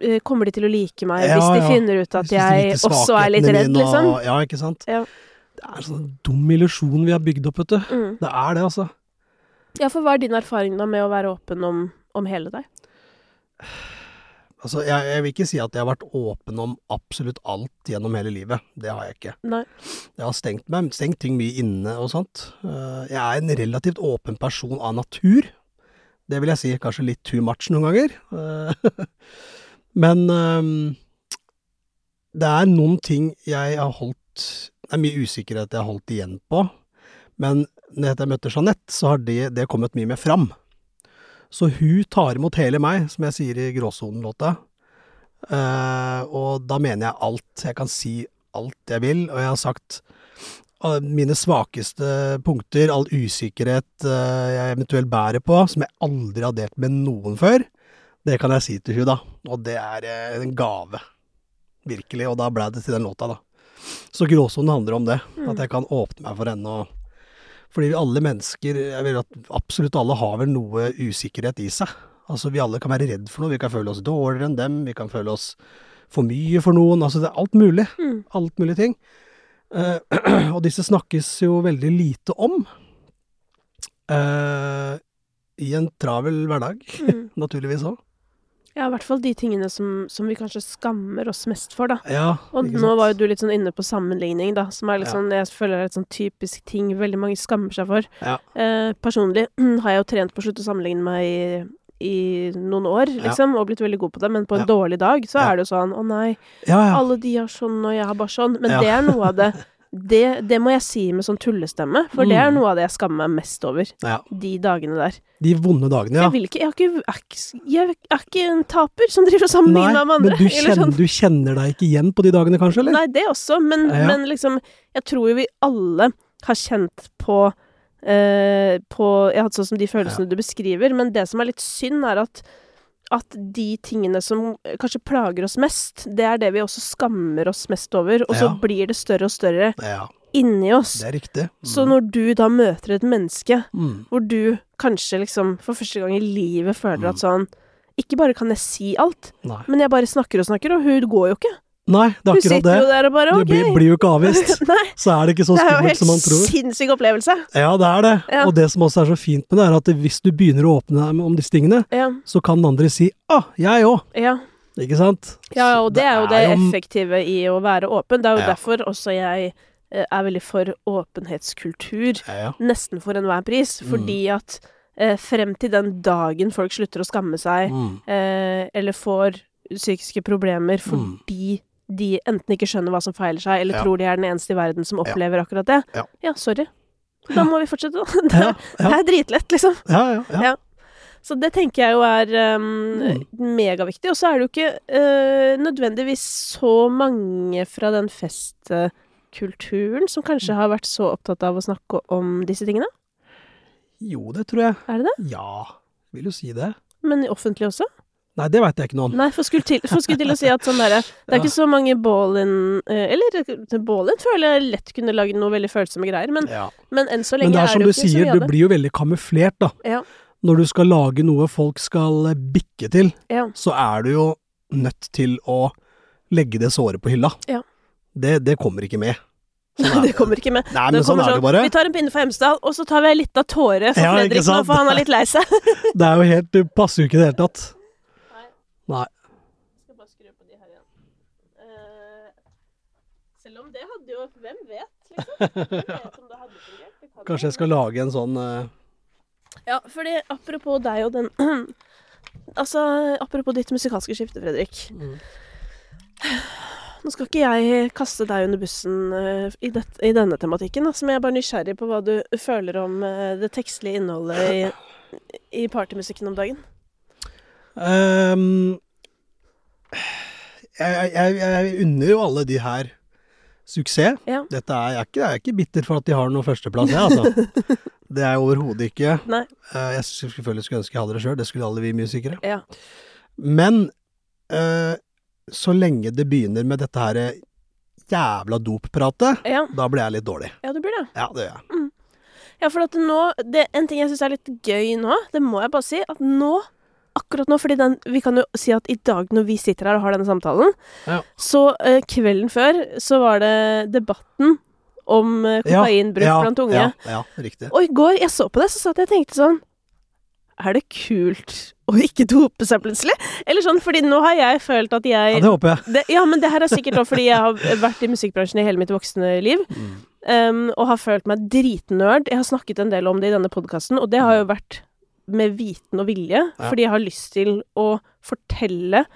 A: øh, kommer de til å like meg
B: Ja,
A: hvis de
B: ja.
A: finner ut at
B: Synes de
A: jeg
B: lite
A: også er litt
B: svakhetene
A: redd,
B: mine
A: liksom?
B: Og, ja, ikke sant.
A: Ja.
B: Det er sånn dum illusjon vi har bygd opp, vet du.
A: Mm.
B: Det er det, altså.
A: Ja, for hva er din erfaring da med å være åpen om, om hele deg?
B: altså jeg, jeg vil ikke si at jeg har vært åpen om absolutt alt gjennom hele livet. Det har jeg ikke.
A: Nei.
B: Jeg har stengt meg, stengt ting mye inne og sånt. Eh, Jeg er en relativt åpen person av natur. Det vil jeg si kanskje litt too much noen ganger. Eh, [laughs] Men ehm, det er noen ting jeg har holdt Det er mye usikkerhet jeg har holdt igjen på. Men når jeg møtte Jeanette, så har det, det kommet mye mer fram. Så hun tar imot hele meg, som jeg sier i Gråsonen-låta. Eh, og da mener jeg alt. Jeg kan si alt jeg vil, og jeg har sagt eh, mine svakeste punkter, all usikkerhet eh, jeg eventuelt bærer på, som jeg aldri har delt med noen før, det kan jeg si til hun da. Og det er eh, en gave. Virkelig. Og da ble det til den låta, da. Så gråsonen handler om det.
A: Mm.
B: At jeg kan åpne meg for henne og Fordi vi alle mennesker, jeg vil at absolutt alle har vel noe usikkerhet i seg. Altså vi alle kan være redd for noe, vi kan føle oss dårligere enn dem, vi kan føle oss for mye for noen, altså det er alt mulig
A: Mm.
B: alt mulig ting. Eh, og disse snakkes jo veldig lite om eh, i en travel hverdag,
A: Mm.
B: [laughs] naturligvis òg.
A: Ja, i hvert fall de tingene som, som vi kanskje skammer oss mest for, da.
B: Ja,
A: Og
B: ikke
A: nå
B: sant?
A: var jo du litt sånn inne på sammenligning, da, som er litt
B: Ja.
A: sånn, jeg føler er et sånn typisk ting veldig mange skammer seg for.
B: Ja.
A: Eh, personlig [clears throat] har jeg jo trent på å slutte å sammenligne meg i, i noen år,
B: Ja.
A: liksom, og blitt veldig god på det, men på en
B: Ja.
A: dårlig dag så
B: Ja.
A: er det jo sånn, å nei,
B: ja, ja.
A: alle de har sånn, og jeg har bare sånn, men
B: Ja.
A: det er noe av
B: [laughs]
A: det, det, det må jeg si med sånn tullestemme, for det er
B: Mm.
A: noe av det jeg skammer meg mest over,
B: ja.
A: de dagene der.
B: De vonde dagene,
A: Jeg
B: ja.
A: vil ikke, jeg, har ikke, er ikke- jeg er ikke en taper som driver og sammenligner meg med
B: men
A: andre.
B: du
A: [laughs] eller sånn.
B: kjenner, du kjenner deg ikke igjen på de dagene, kanskje? eller?
A: Nei, det også, men,
B: Ja.
A: men liksom Jeg tror jo vi alle har kjent på eh, på Jeg har hatt sånn som de følelsene du beskriver, men det som er litt synd, er at at de tingene som eh, kanskje plager oss mest, det er det vi også skammer oss mest over, og så
B: Ja.
A: blir det større og større
B: Ja,
A: inni oss.
B: det Mm. er riktig.
A: Så når du da møter et menneske
B: Mm.
A: hvor du kanskje liksom for første gang i livet føler
B: Mm.
A: at sånn Ikke bare kan jeg si alt,
B: Nei.
A: men jeg bare snakker og snakker, og hun går jo ikke.
B: Nei, det er
A: Hun
B: akkurat
A: sitter
B: det.
A: jo der og bare
B: Du
A: OK.
B: blir, blir jo ikke
A: [laughs]
B: avvist.
A: Nei,
B: Så er det ikke så
A: det er jo
B: skummelt som man
A: helt
B: tror.
A: sinnssyk opplevelse.
B: Ja, det er det.
A: Ja.
B: Og det som også er så fint med det, er at hvis du begynner å åpne deg om disse tingene,
A: Ja,
B: så kan den andre si 'ah, jeg òg',
A: ja.
B: ikke sant?
A: ja og det er jo det
B: jo-
A: effektive i å være åpen. Det er jo
B: Ja.
A: derfor også jeg eh, er veldig for åpenhetskultur.
B: Ja, ja.
A: Nesten for enhver pris.
B: Mm.
A: Fordi at eh, frem til den dagen folk slutter å skamme seg, [laughs]
B: Mm.
A: eh, eller får psykiske problemer fordi de enten ikke skjønner hva som feiler seg, eller
B: Ja.
A: tror de er den eneste i verden som opplever akkurat det.
B: Ja.
A: sorry. Da må vi fortsette, da. [laughs] Det,
B: Ja,
A: er-
B: ja,
A: det er dritlett, liksom.
B: ja, ja, ja.
A: Så det tenker jeg jo er um,
B: Mm.
A: megaviktig. Og så er det jo ikke eh, nødvendigvis så mange fra den festkulturen som
B: Mm.
A: kanskje har vært så opptatt av å snakke om disse tingene.
B: Jo, det tror jeg.
A: Er det det?
B: Ja, vil jo si det.
A: Men i offentlig også?
B: Nei, det veit jeg ikke noe om.
A: Nei, for skulle til, for skulle til å si at sånn derre Det er
B: Ja.
A: ikke så mange Ballin eh, Eller eh, Ballin føler jeg lett kunne lagd noe veldig følsomme greier, men,
B: Mm. Ja.
A: men enn så
B: Men
A: lenge
B: det er som
A: jo
B: du
A: ikke så
B: sier,
A: mye av
B: du
A: det.
B: blir jo veldig kamuflert, da.
A: Ja.
B: Når du skal lage noe folk skal eh, bikke til,
A: Ja.
B: så er du jo nødt til å legge det såret på hylla.
A: Ja.
B: Det, det kommer
A: [laughs]
B: ikke med. Sånn
A: Nei,
B: er
A: det kommer ikke med.
B: Nei,
A: Det
B: men sånn
A: kommer
B: er det bare.
A: Vi tar en pinne for Hemsedal, og så tar vi ei lita tåre for
B: Ja, ikke
A: Fredrik nå,
B: sant?
A: for han er litt lei
B: [laughs]
A: seg.
B: Det er jo helt, det passer jo ikke i det hele tatt.
A: skal bare skru på de her igjen. Eh, selv om det hadde jo Hvem vet, liksom? Hvem vet om det hadde fungert? Det kan
B: Kanskje
A: jo
B: jeg skal lage en sånn eh,
A: hende. Ja, fordi apropos deg og den [clears throat] Altså, apropos ditt musikalske skifte, Fredrik.
B: Mm.
A: Nå skal ikke jeg kaste deg under bussen eh, i, det, i denne tematikken, altså, men jeg er bare nysgjerrig på hva du føler om eh, det tekstlige innholdet i, i partymusikken om dagen.
B: Ehm, jeg, jeg, jeg unner jo alle de her suksess.
A: Ja.
B: Dette er, jeg, er ikke, jeg er ikke bitter for at de har noen førsteplass, jeg, altså.
A: [laughs]
B: det er jeg overhodet ikke.
A: Nei.
B: Eh, jeg skulle- selvfølgelig skulle ønske jeg hadde det sjøl, det skulle alle vi musikere.
A: Ja.
B: Men eh, så lenge det begynner med dette her jævla doppratet,
A: Ja,
B: da blir jeg litt dårlig.
A: ja du blir det.
B: Ja, det gjør jeg.
A: Ja, for at nå det, En ting jeg syns er litt gøy nå, det må jeg bare si, at nå Akkurat nå, fordi den, vi kan jo si at i dag når vi sitter her og har denne samtalen,
B: Ja.
A: så eh, kvelden før så var det debatten om eh,
B: Ja,
A: kokainbruk
B: ja,
A: blant unge.
B: Ja, ja, riktig.
A: Og i går, jeg så på det, så satt jeg og tenkte sånn Er det kult å ikke dope seg plutselig? Eller sånn, fordi nå har jeg følt at jeg
B: Ja, det håper jeg.
A: det, ja, men det her er sikkert også fordi jeg har vært i musikkbransjen i hele mitt voksne liv.
B: Mm.
A: em, og har følt meg dritnerd. Jeg har snakket en del om det i denne podkasten, og det har jo vært med viten og vilje, fordi jeg har lyst til å fortelle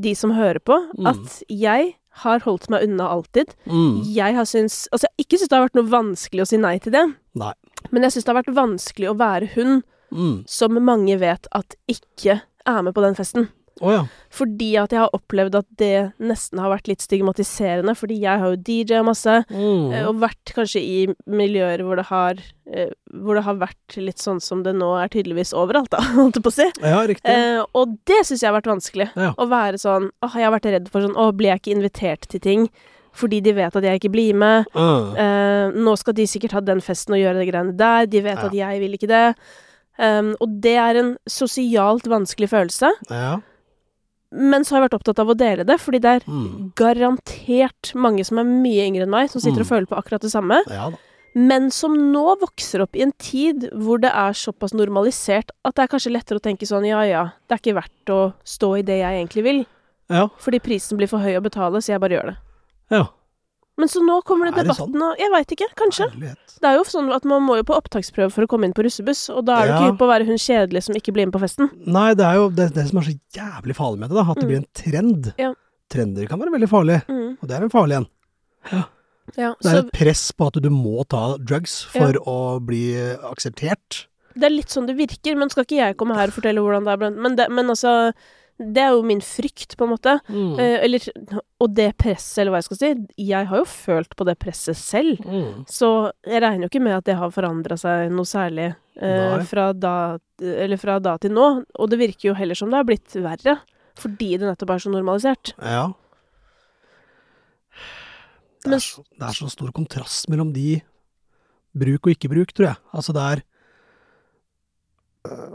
A: de som hører på, at jeg har holdt meg unna alltid.
B: Mm.
A: Jeg har syns Altså, jeg har ikke syntes det har vært noe vanskelig å si nei til det,
B: Nei.
A: men jeg syns det har vært vanskelig å være hun
B: Mm.
A: som mange vet at ikke er med på den festen.
B: Å ja.
A: Fordi at jeg har opplevd at det nesten har vært litt stigmatiserende, fordi jeg har jo DJ masse,
B: Mm.
A: eh, og vært kanskje i miljøer hvor det har eh, Hvor det har vært litt sånn som det nå er tydeligvis overalt, da, [laughs] holdt jeg på å si.
B: Ja, riktig.
A: Eh, og det syns jeg har vært vanskelig.
B: Ja.
A: Å være sånn Åh, jeg har vært redd for sånn Å, blir jeg ikke invitert til ting fordi de vet at jeg ikke blir med?
B: Mm.
A: Eh, nå skal de sikkert ha den festen og gjøre de greiene der. De vet
B: Ja.
A: at jeg vil ikke det. Um, og det er en sosialt vanskelig følelse.
B: Ja.
A: Men så har jeg vært opptatt av å dele det, fordi det er
B: Mm.
A: garantert mange som er mye yngre enn meg, som sitter og
B: Mm.
A: føler på akkurat det samme,
B: ja da.
A: men som nå vokser opp i en tid hvor det er såpass normalisert at det er kanskje lettere å tenke sånn ja ja, det er ikke verdt å stå i det jeg egentlig vil,
B: Ja.
A: fordi prisen blir for høy å betale, så jeg bare gjør det.
B: ja.
A: Men så nå kommer det
B: Er det
A: debatten og Jeg veit ikke, kanskje.
B: Herlighet.
A: Det er jo sånn at man må jo på opptaksprøve for å komme inn på russebuss, og da er det
B: Ja.
A: ikke hypp på å være hun kjedelige som ikke blir med på festen.
B: Nei, det er jo det, det som er så jævlig farlig med det, da, at det
A: Mm.
B: blir en trend.
A: Ja.
B: Trender kan være veldig farlige,
A: Mm.
B: og det er en farlig en.
A: Ja,
B: Det er
A: så
B: et press på at du må ta drugs for å bli akseptert.
A: det er litt sånn det virker, men skal ikke jeg komme her og fortelle hvordan det er blant Men, det, men altså Det er jo min frykt, på en måte.
B: Mm.
A: Eh, eller, og det presset, eller hva jeg skal si. Jeg har jo følt på det presset selv.
B: Mm.
A: Så jeg regner jo ikke med at det har forandra seg noe særlig eh,
B: Nei.
A: fra, da, eller fra da til nå. Og det virker jo heller som det har blitt verre, fordi det nettopp er så normalisert.
B: Ja. Det
A: Men-
B: er, så, det er så stor kontrast mellom de bruk og ikke bruk, tror jeg. Altså det er øh,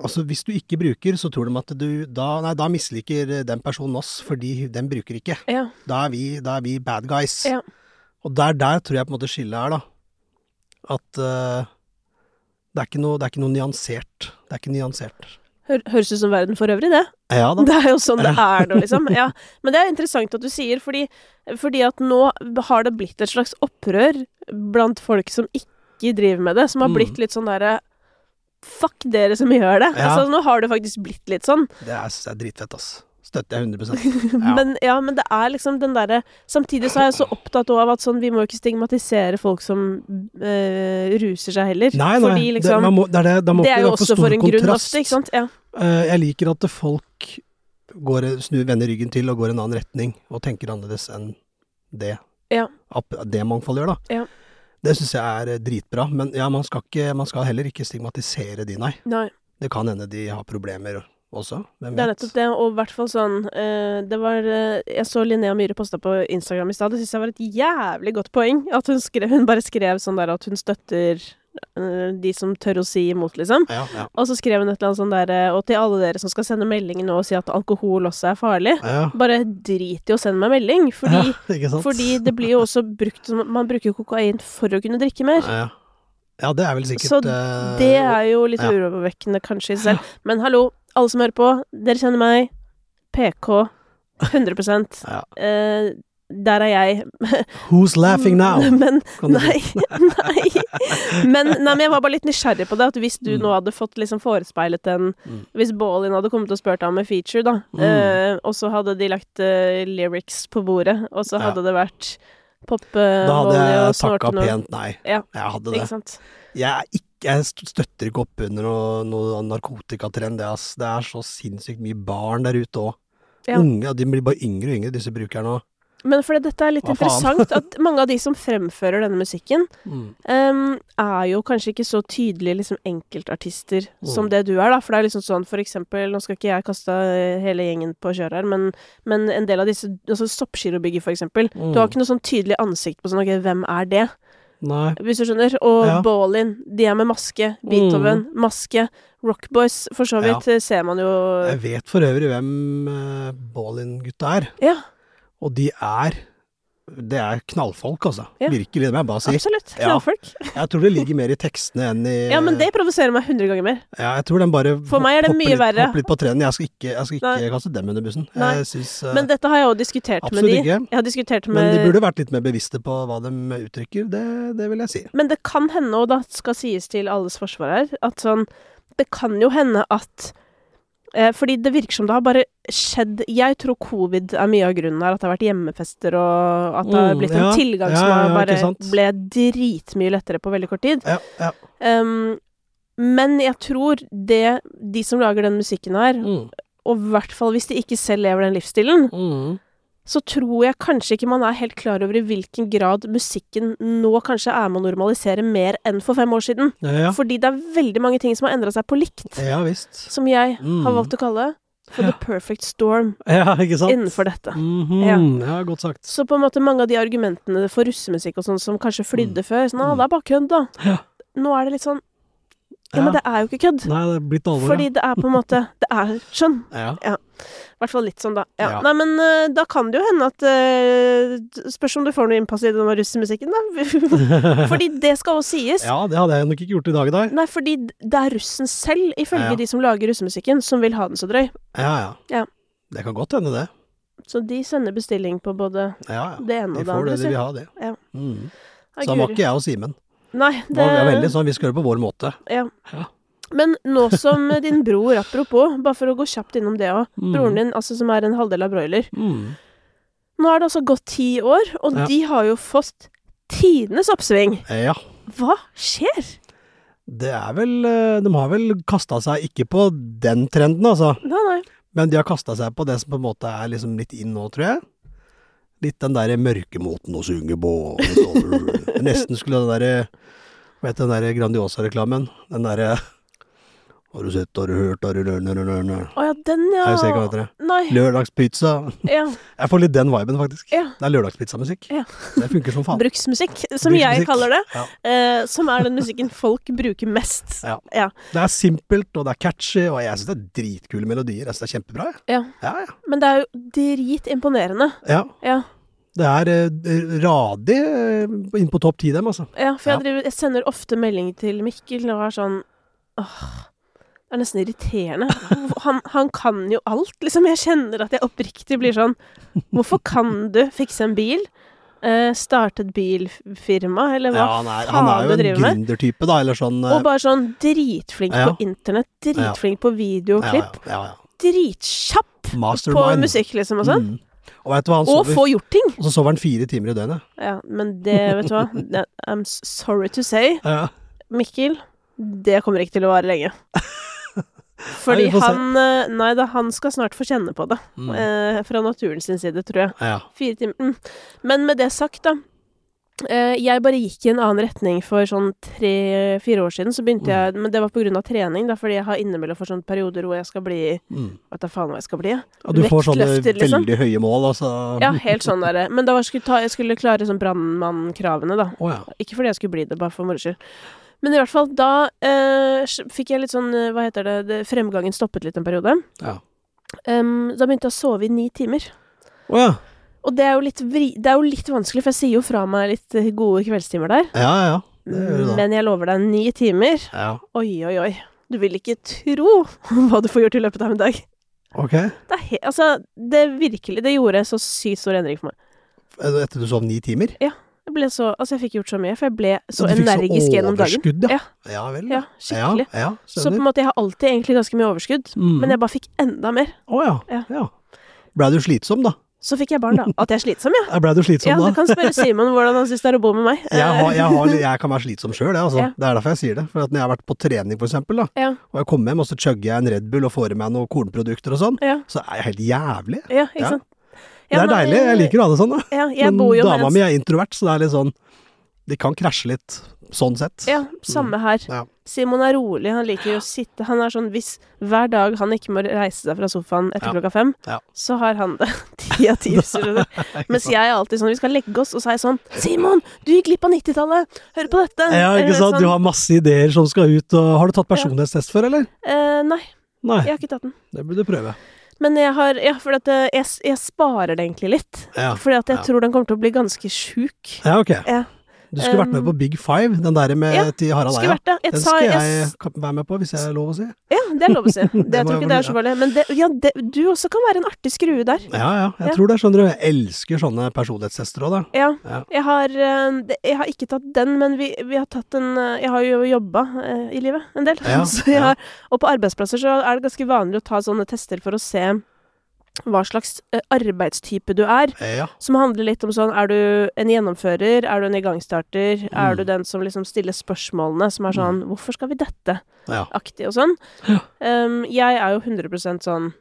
B: Altså hvis du ikke bruker, så tror de at du da, Nei, da misliker den personen oss, fordi den bruker ikke.
A: Ja.
B: Da er vi, da er vi bad guys.
A: Ja.
B: Og der, der tror jeg på en måte skillet er, da. At øh, det, er ikke noe, det er ikke noe nyansert. Det er ikke nyansert.
A: Hør, høres ut som verden for øvrig, det.
B: Ja da.
A: Det er jo sånn det er nå,
B: [laughs]
A: liksom. Ja. Men det er interessant at du sier, fordi, fordi at nå har det blitt et slags opprør blant folk som ikke driver med det, som har
B: Mm.
A: blitt litt sånn derre Fuck dere som gjør det.
B: Ja.
A: Altså, nå har det faktisk blitt litt sånn.
B: Det er, det er dritfett, ass. Støtter jeg 100 Ja.
A: Men, ja, men det er liksom den derre Samtidig så er jeg så opptatt også av at sånn, vi må jo ikke stigmatisere folk som eh, ruser seg heller.
B: Nei, nei.
A: fordi
B: det,
A: liksom
B: man må, det er det, det må
A: Det er
B: ikke
A: jo
B: være
A: også
B: stor
A: for en grunn
B: kontrast.
A: ofte, ikke sant? Ja.
B: Eh, jeg liker at folk går, snur, vender ryggen til og går i en annen retning, og tenker annerledes enn det,
A: Ja.
B: App- det mangfoldet gjør, da.
A: Ja.
B: Det syns jeg er eh, dritbra, men ja, man, skal ikke, man skal heller ikke stigmatisere de, nei.
A: Nei.
B: Det kan hende de har problemer også, hvem
A: Det er
B: vet.
A: nettopp det, og i hvert fall sånn eh, Det var eh, Jeg så Linnea Myhre posta på Instagram i stad, det syns jeg var et jævlig godt poeng. At hun, skrev, hun bare skrev sånn der at hun støtter eh, de som tør å si imot, liksom.
B: Ja, ja.
A: Og så skrev hun et eller annet sånn derre Og til alle dere som skal sende melding nå og si at alkohol også er farlig,
B: ja. [laughs]
A: bare drit i å sende meg melding. Fordi,
B: ja, [laughs] ikke sant?
A: fordi det blir jo også brukt som Man bruker jo kokain for å kunne drikke mer.
B: ja. ja, det er vel sikkert
A: Så
B: eh,
A: Det er jo litt
B: ja.
A: urovekkende kanskje i seg selv. Men hallo, alle som hører på, dere kjenner meg. PK 100
B: [laughs] Ja.
A: eh, Der er jeg.
B: Who's laughing now?
A: [laughs] Men
B: Kan du si.
A: Mm, nei, [laughs] nei. Men, nei, men jeg var bare litt nysgjerrig på det. At hvis du
B: Mm.
A: nå hadde fått liksom forespeilet en
B: Mm.
A: Hvis Ballin hadde kommet og spurt deg om en feature, da,
B: Mm.
A: eh, og så hadde de lagt eh, lyrics på bordet, og så
B: Ja.
A: hadde det vært poppe,
B: Da hadde
A: Molly og
B: jeg takka
A: snorte noe.
B: pent nei.
A: Ja.
B: Jeg hadde det.
A: Ikke sant?
B: Jeg, er ikke, jeg st- støtter ikke opp under noe, noe narkotikatrend. Det, ass. det er så sinnssykt mye barn der ute òg.
A: Ja.
B: Unge, ja, de blir bare yngre og yngre, disse brukerne òg.
A: Men fordi dette er litt
B: Hva faen? [laughs]
A: interessant, at mange av de som fremfører denne musikken, ehm, er jo kanskje ikke så tydelige liksom, enkeltartister som
B: Mm.
A: det du er, da. For det er liksom sånn, for eksempel, nå skal ikke jeg kaste eh, hele gjengen på kjøret her, men, men en del av disse altså Soppgirobygget, for eksempel.
B: Mm.
A: Du har ikke noe sånn tydelig ansikt på sånn, ok, hvem er det?
B: Nei.
A: Hvis du skjønner. Og
B: Ja. Mm.
A: Ballin, de er med maske. Beethoven, maske. Rockboys, for så
B: Ja.
A: vidt, eh, ser man jo
B: Jeg vet for øvrig hvem uh, Ballin-gutta er.
A: Ja,
B: Og de er Det er knallfolk, altså.
A: Ja.
B: Virkelig, det må jeg bare si.
A: absolutt.
B: Ja. Eh.
A: Knallfolk. Ja.
B: Jeg tror det ligger mer i tekstene enn i
A: men det provoserer meg hundre ganger mer.
B: Ja, jeg tror den bare
A: For meg er det
B: hopper
A: mye
B: litt,
A: verre.
B: hopper litt på trenden. Jeg skal ikke, jeg skal
A: Nei.
B: ikke kaste dem under bussen.
A: Nei.
B: Jeg synes, eh,
A: Men dette har jeg jo diskutert med
B: absolutt
A: de.
B: ikke.
A: Jeg har diskutert med
B: Men de burde vært litt mer bevisste på hva de uttrykker, det, det vil jeg si.
A: Men det kan hende, og da skal sies til alles forsvar her, at sånn Det kan jo hende at eh, Fordi det virker som det har bare skjedd Jeg tror covid er mye av grunnen her, at det har vært hjemmefester, og at det har
B: Mm,
A: blitt en
B: ja.
A: tilgang
B: Ja,
A: som
B: ja,
A: har
B: ja,
A: bare
B: ikke sant.
A: ble dritmye lettere på veldig kort tid.
B: Ja, ja.
A: Um, men jeg tror det de som lager den musikken her,
B: Mm,
A: og i hvert fall hvis de ikke selv lever den livsstilen,
B: mm.
A: så tror jeg kanskje ikke man er helt klar over i hvilken grad musikken nå kanskje er med å normalisere mer enn for fem år siden.
B: Ja, ja.
A: Fordi det er veldig mange ting som har endra seg på likt,
B: ja visst.
A: som jeg
B: Mm.
A: har valgt å kalle for the perfect storm
B: [laughs] Ja, ikke sant?
A: innenfor dette.
B: Mhm, Ja, godt sagt.
A: Så på en måte mange av de argumentene for russemusikk og sånn som kanskje flydde før, sånn ah,
B: Mm.
A: det er bare kødd, da.
B: Ja.
A: Nå er det litt sånn Ja, men det er jo ikke kødd.
B: Nei, det er blitt alvor,
A: Fordi det er på en måte Det er sånn. skjønn.
B: ja.
A: I hvert fall litt sånn, da. Ja.
B: Ja.
A: Nei, men eh, da kan det jo hende at eh, Spørs om du får noe innpass i denne russemusikken, da. [laughs]
B: Ja.
A: fordi det skal også sies.
B: ja, det hadde jeg nok ikke gjort i dag, da.
A: Nei, fordi det er russen selv, ifølge
B: Ja.
A: de som lager russemusikken, som vil ha den så drøy.
B: Ja, ja.
A: Ja.
B: Det kan godt hende, det.
A: Så de sender bestilling på både
B: Ja, ja.
A: det ene
B: De
A: og det
B: får
A: andre.
B: det de vil
A: sier.
B: ha, det.
A: Ja.
B: Mm.
A: Ai,
B: Sånn var
A: guri.
B: ikke jeg og Simen.
A: Nei,
B: Det...
A: det
B: Var veldig sånn, vi skal gjøre det på vår måte.
A: Ja.
B: Ja.
A: Men nå som din bror, apropos, bare for å gå kjapt innom det òg
B: Mm.
A: Broren din, altså som er en halvdel av broiler
B: Mm.
A: Nå er det altså gått ti år, og
B: Ja.
A: de har jo fått tidenes oppsving.
B: Ja.
A: Hva skjer?
B: Det er vel eh, De har vel kasta seg ikke på den trenden, altså.
A: Nei, nei.
B: Men de har kasta seg på det som på en måte er liksom litt inn nå, tror jeg. Litt den derre mørkemoten å synge på. sånn.
A: [laughs]
B: Jeg Nesten skulle den derre Hva heter den derre Grandiosa-reklamen? Den derre Har du sett, har du hørt, har du rørt, rørt, rørt, rørt.
A: Å ja, den, ja.
B: Jeg ser ikke hva heter det.
A: Nei.
B: Lørdagspizza.
A: Ja.
B: Jeg får litt den viben, faktisk.
A: Ja.
B: Det er lørdagspizzamusikk.
A: Ja.
B: Det funker som faen.
A: Bruksmusikk, som jeg
B: Bruksmusikk.
A: kaller det.
B: Ja.
A: eh, som er den musikken folk bruker mest.
B: Ja.
A: Ja.
B: Det er simpelt, og det er catchy, og jeg syns det er dritkule melodier. Jeg syns det er kjempebra, jeg.
A: Ja.
B: Ja, ja.
A: Men det er jo dritimponerende.
B: ja.
A: Ja.
B: Det er eh, radig eh, inn på topp ti, dem, altså.
A: Ja, for
B: Ja.
A: jeg, driver, jeg sender ofte melding til Mikkel og er sånn Åh, det er nesten irriterende. Han, han kan jo alt, liksom. Jeg kjenner at jeg oppriktig blir sånn Hvorfor kan du fikse en bil? Eh, starte et bilfirma, eller hva?
B: Ja, han er, han er
A: faen
B: jo
A: du
B: en
A: driver med?
B: gründertype, da, eller sånn eh,
A: og bare sånn dritflink
B: Ja.
A: på internett, dritflink på
B: ja,
A: videoklipp,
B: ja, ja, ja.
A: dritkjapp på
B: Mastermind.
A: musikk, liksom, og sånn.
B: Mm. Og vet du hva, han
A: Og
B: sover,
A: få gjort ting!
B: og så sover han fire timer i døgnet.
A: Ja, men det,
B: [laughs]
A: vet du hva, Det- I'm sorry to say.
B: Ja,
A: Mikkel, det kommer ikke til å vare
B: [laughs]
A: lenge. Fordi
B: Nei, vi får se.
A: han eh, Nei da, han skal snart få kjenne på det.
B: Mm.
A: eh, fra naturen sin side, tror jeg.
B: ja.
A: Fire timer. Mm. Men med det sagt, da. eh, jeg bare gikk i en annen retning for sånn tre-fire år siden. Så begynte jeg Men det var på grunn av trening, da, fordi jeg har innimellom for sånne perioder hvor jeg skal bli
B: Mm.
A: Vet da faen hva jeg skal bli. jeg.
B: Og du får sånne
A: Vektløfter, liksom.
B: veldig høye mål, altså.
A: Ja, helt sånn derre. Men da var jeg skulle ta, jeg skulle klare sånn brannmannkravene, da.
B: Å ja.
A: Ikke fordi jeg skulle bli det, bare for moro skyld. Men i hvert fall, da eh, s- fikk jeg litt sånn, eh, hva heter det, det fremgangen stoppet litt en periode.
B: Ja.
A: Em, da begynte jeg å sove i ni timer.
B: Å ja.
A: Og det er jo litt, vri, det er jo litt vanskelig, for jeg sier jo fra meg litt eh, gode kveldstimer der.
B: Ja, ja. Det gjør du da.
A: Men jeg lover deg, ni timer
B: Ja.
A: Oi, oi, oi. Du vil ikke tro [laughs] hva du får gjort i løpet av en dag.
B: Ok.
A: Det er he altså, det virkelig Det gjorde så sykt stor endring for meg.
B: Etter du sov ni timer?
A: Jeg ble så Altså, jeg fikk gjort så mye, for jeg ble så
B: du fikk
A: energisk gjennom dagen.
B: overskudd, ja.
A: Ja.
B: Ja vel.
A: Ja, skikkelig.
B: Ja, ja
A: Så på
B: skjønner.
A: en måte, jeg har alltid egentlig ganske mye overskudd,
B: Mm.
A: men jeg bare fikk enda mer.
B: Å ja.
A: Ja.
B: ja. Blei du slitsom, da?
A: Så fikk jeg barn, da. At jeg er slitsom,
B: [laughs]
A: ja.
B: Blei du slitsom
A: Ja,
B: da?
A: du kan spørre Simon hvordan han syns det er å bo med meg.
B: Jeg, har, jeg, har, jeg kan være slitsom sjøl, jeg, altså.
A: Eh. Ja.
B: Det er derfor jeg sier det. For at når jeg har vært på trening, for eksempel, da,
A: Ja.
B: og jeg kommer hjem og så chugger jeg en Red Bull og får i meg noen kornprodukter og sånn,
A: Ja,
B: så er jeg helt jævlig.
A: ja, ikke
B: Ja.
A: sant.
B: Det
A: Ja,
B: er
A: men,
B: deilig. Jeg liker å ha det sånn, da.
A: Ja, jeg bor jo med
B: dama
A: en
B: mi er introvert, så det er litt sånn De kan krasje litt, sånn sett.
A: Ja, samme her.
B: Ja.
A: Simon er rolig, han liker å sitte Han er sånn hvis hver dag han ikke må reise seg fra sofaen etter
B: Ja.
A: klokka fem,
B: Ja.
A: så har han det [laughs] ti av
B: [laughs]
A: ti. skjønner du. Mens jeg er alltid sånn Vi skal legge oss, og så er jeg sånn Simon, du gikk glipp av 90-tallet! Hør på dette!
B: Ja,
A: Eller
B: ikke sant. Du
A: sånn,
B: har masse ideer som skal ut, og Har du tatt personlighetstest før, eller?
A: eh, Nei,
B: Nei.
A: jeg har ikke tatt den.
B: Det burde du prøve.
A: Men jeg har Ja, for at eh, jeg, jeg sparer det egentlig litt.
B: Ja.
A: Fordi at jeg
B: Ja.
A: tror den kommer til å bli ganske sjuk.
B: Ja, ok.
A: Ja. Eh.
B: Du skulle vært med på Big Five, den der med
A: Ja,
B: til Harald
A: Skulle
B: Eia.
A: vært det. Jeg
B: Den
A: sa-
B: skal jeg
A: jeg s-
B: ka- være med på, hvis jeg er lov å si.
A: Ja, det er lov å si. Det,
B: [laughs] Det
A: jeg tror
B: må jeg
A: ikke det er
B: vurdere.
A: så farlig. Men det, ja, det, du også kan være en artig skrue der.
B: Ja, ja. Jeg
A: Ja.
B: tror det, skjønner du. Jeg elsker sånne personlighetstester òg, da.
A: Ja.
B: Ja.
A: Jeg, har, eh, det- jeg har ikke tatt den, men vi, vi har tatt en eh, Jeg har jo jobba eh, i livet en del.
B: Ja,
A: [laughs] Så jeg har,
B: ja.
A: og på arbeidsplasser så er det ganske vanlig å ta sånne tester for å se hva slags eh, arbeidstype du er.
B: Ja.
A: Som handler litt om sånn Er du en gjennomfører? Er du en igangstarter? Er
B: Mm.
A: du den som liksom stiller spørsmålene, som er sånn Hvorfor skal vi dette?
B: ja.
A: Aktig og sånn.
B: Mm. Ja.
A: Um, jeg er jo 100 sånn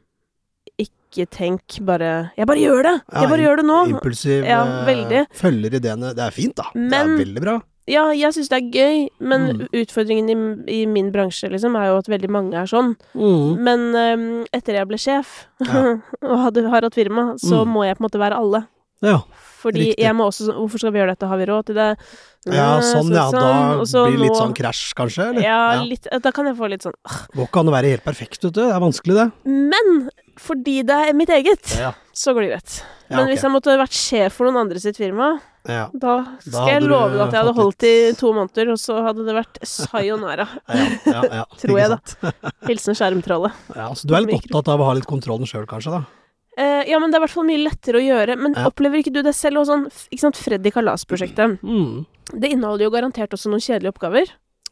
A: ikke tenk, bare Jeg bare gjør det!
B: Ja,
A: Jeg bare
B: im-
A: gjør det nå!
B: Impulsiv,
A: Ja,
B: eh,
A: veldig.
B: følger ideene. Det er fint, da.
A: Men-
B: det er veldig bra.
A: Ja, jeg syns det er gøy, men
B: Mm.
A: utfordringen i, i min bransje liksom, er jo at veldig mange er sånn.
B: Mm.
A: Men øhm, etter jeg ble sjef
B: Ja.
A: [laughs] og hadde, har hatt firma, så
B: Mm.
A: må jeg på en måte være alle.
B: Ja.
A: Fordi
B: Riktig.
A: jeg må også sånn Hvorfor skal vi gjøre dette? Har vi råd til det?
B: ja,
A: Nei,
B: sånn
A: Eh, så-
B: ja.
A: og
B: Da
A: så
B: blir det litt
A: nå-
B: sånn krasj, kanskje? Eller?
A: Ja,
B: Ja.
A: litt, da kan jeg få litt sånn «Åh».
B: Går ikke an å være helt perfekt, vet du. Det er vanskelig, det.
A: Men fordi det er mitt eget,
B: Ja,
A: så går det greit.
B: Ja,
A: Men liksom-
B: ok.
A: hvis jeg måtte vært sjef for noen andre sitt firma,
B: ja.
A: da skal jeg
B: hadde du
A: love deg at jeg hadde
B: fått
A: holdt i to måneder, og så hadde det
B: [laughs]
A: vært sayonara.
B: ja, ja,
A: [laughs]
B: ja.
A: Tror jeg, da.
B: da. [laughs]
A: Hilsen skjermtrollet.
B: Ja, så du er litt
A: Mikro.
B: opptatt av å ha litt kontrollen sjøl, kanskje? da.
A: Eh, ja, men det er i hvert fall mye lettere å gjøre. Men
B: Ja.
A: opplever ikke du det selv? Og sånn, f- ikke sant, Freddy Kalas-prosjektet.
B: Mm.
A: Det inneholder jo garantert også noen kjedelige oppgaver.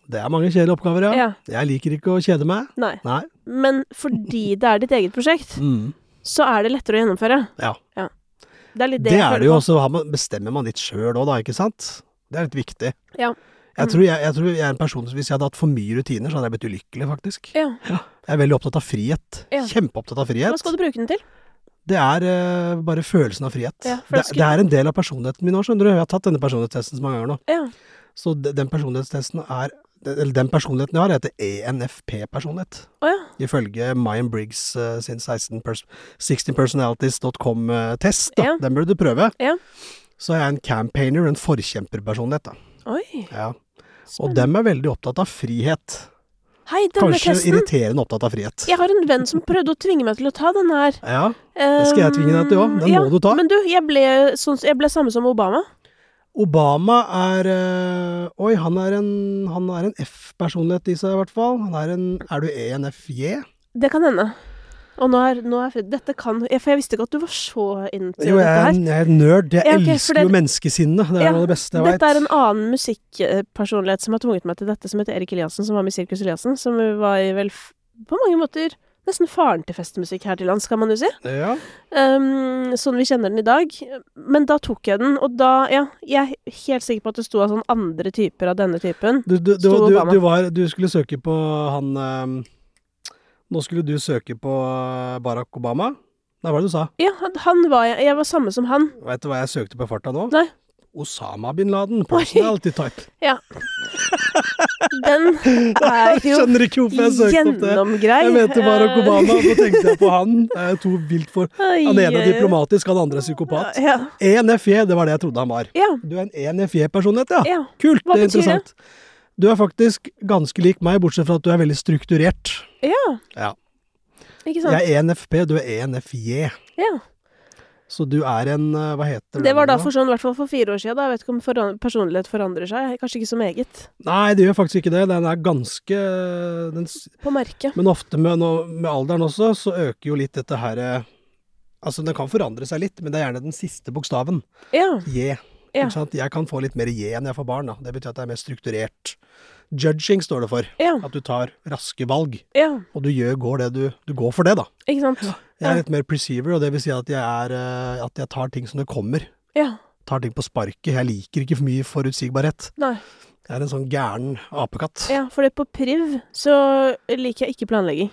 B: Det er mange kjedelige oppgaver, ja.
A: Ja.
B: Jeg liker ikke å kjede meg.
A: Nei.
B: Nei.
A: Men fordi det er ditt eget prosjekt,
B: Mm.
A: så er det lettere å gjennomføre.
B: Ja.
A: Det er litt det,
B: Det,
A: jeg
B: er
A: føler
B: det jo,
A: på.
B: og så har man- bestemmer man litt sjøl òg, da, ikke sant? Det er litt viktig.
A: Ja.
B: Jeg tror jeg, jeg tror jeg er en person som hvis jeg hadde hatt for mye rutiner, så hadde jeg blitt ulykkelig, faktisk.
A: Ja.
B: Jeg Jeg er veldig opptatt av frihet.
A: Ja.
B: Kjempeopptatt av
A: Hva
B: frihet.
A: skal du bruke den til?
B: Det er eh, bare følelsen av frihet.
A: Ja, for det
B: det,
A: skulle-
B: det er en del av personligheten min nå, skjønner du. Jeg har tatt denne personlighetstesten så mange ganger nå.
A: Ja.
B: Så de- den personlighetstesten er Eller den personligheten jeg har, heter E ENFP-personlighet.
A: Å ja.
B: Ifølge Mayan Briggs eh, sin 16 pers 16personalities.com-test. eh, da.
A: Ja.
B: Den burde du prøve.
A: Ja.
B: Så er jeg en campaigner, en forkjemperpersonlighet. da.
A: Oi.
B: Ja. Og
A: Spennende.
B: dem er veldig opptatt av frihet.
A: Hei, denne
B: Kanskje
A: testen.
B: irriterende opptatt av frihet.
A: Jeg har en venn som prøvde å tvinge meg til å ta den her. Eh,
B: Ja, Det skal jeg tvinge deg til òg. Den
A: ja,
B: må du ta.
A: Men du, jeg ble, sånn, jeg ble samme som Obama.
B: Obama er øh, Oi, han er en, han er en F-personlighet i seg, i hvert fall. Han er en Er du E ENFJ?
A: Det kan hende. Og nå er, nå er Fred- Dette kan jeg- For jeg visste ikke at du var så inn til
B: Jo, jeg
A: dette
B: er,
A: her.
B: en- jeg er en nerd. Jeg
A: Ja, ok, for
B: elsker
A: det-
B: jo menneskesinnet. Det er
A: Ja,
B: noe av det beste jeg veit.
A: Dette er en annen musikkpersonlighet som har tvunget meg til dette, som heter Erik Eliassen, som var med i Sirkus Eliassen, som var i vel f- på mange måter nesten faren til festmusikk her til lands, kan man jo si.
B: Ja.
A: Ehm, sånn vi kjenner den i dag. Men da tok jeg den, og da, ja, jeg er helt sikker på at det sto av sånn andre typer av denne typen.
B: Du, du, du,
A: Stor
B: du,
A: Obama.
B: du, var, du skulle søke på han øhm, Nå skulle du søke på øh, Barack Obama. Nei, hva var det du sa?
A: Ja, han- han var jeg. Jeg var samme som han.
B: Veit du hva jeg søkte på i farta nå?
A: Nei.
B: Osama bin Laden. Personality type.
A: [laughs]
B: [laughs]
A: Den er jo
B: Skjønner ikke hvorfor jeg søkte opp det.
A: gjennomgrei.
B: Jeg mente Barack Obama, og så tenkte jeg på han. Det er jo to vilt for Han ene er diplomatisk, han andre er psykopat.
A: Ja.
B: ENFJ, det var det jeg trodde han var.
A: Ja.
B: Du er en ENFJ-personlighet, ja.
A: ja.
B: Kult,
A: Hva
B: det er
A: betyr det?
B: interessant. Du er faktisk ganske lik meg, bortsett fra at du er veldig strukturert.
A: Ja.
B: Ja.
A: Ikke sant?
B: Jeg er ENFP, du er ENFJ.
A: Ja.
B: Så du er en eh, Hva heter
A: Det var da
B: nå?
A: for sånn, i hvert fall for fire år siden. Da. Jeg vet ikke om foran personlighet forandrer seg. Kanskje ikke så meget.
B: Nei, det gjør faktisk ikke det. Den er ganske den, s-
A: På merket.
B: Men ofte med, nå- med alderen også, så øker jo litt dette her eh, Altså, den kan forandre seg litt, men det er gjerne den siste bokstaven.
A: Ja.
B: J.
A: Ja.
B: Ikke sant? Jeg kan få litt mer J enn jeg får barn. Da. Det betyr at det er mer strukturert. Judging står det for.
A: Ja.
B: At du tar raske valg,
A: Ja.
B: og du gjør, går, det du, du går for det, da.
A: Ikke sant?
B: Jeg
A: Ja.
B: er litt mer perceiver, og det vil si at jeg, er, eh, at jeg tar ting som det kommer.
A: Ja.
B: Tar ting på sparket. Jeg liker ikke for mye forutsigbarhet.
A: Nei.
B: Jeg er en sånn gæren apekatt.
A: Ja, for det på priv så liker jeg ikke planlegging.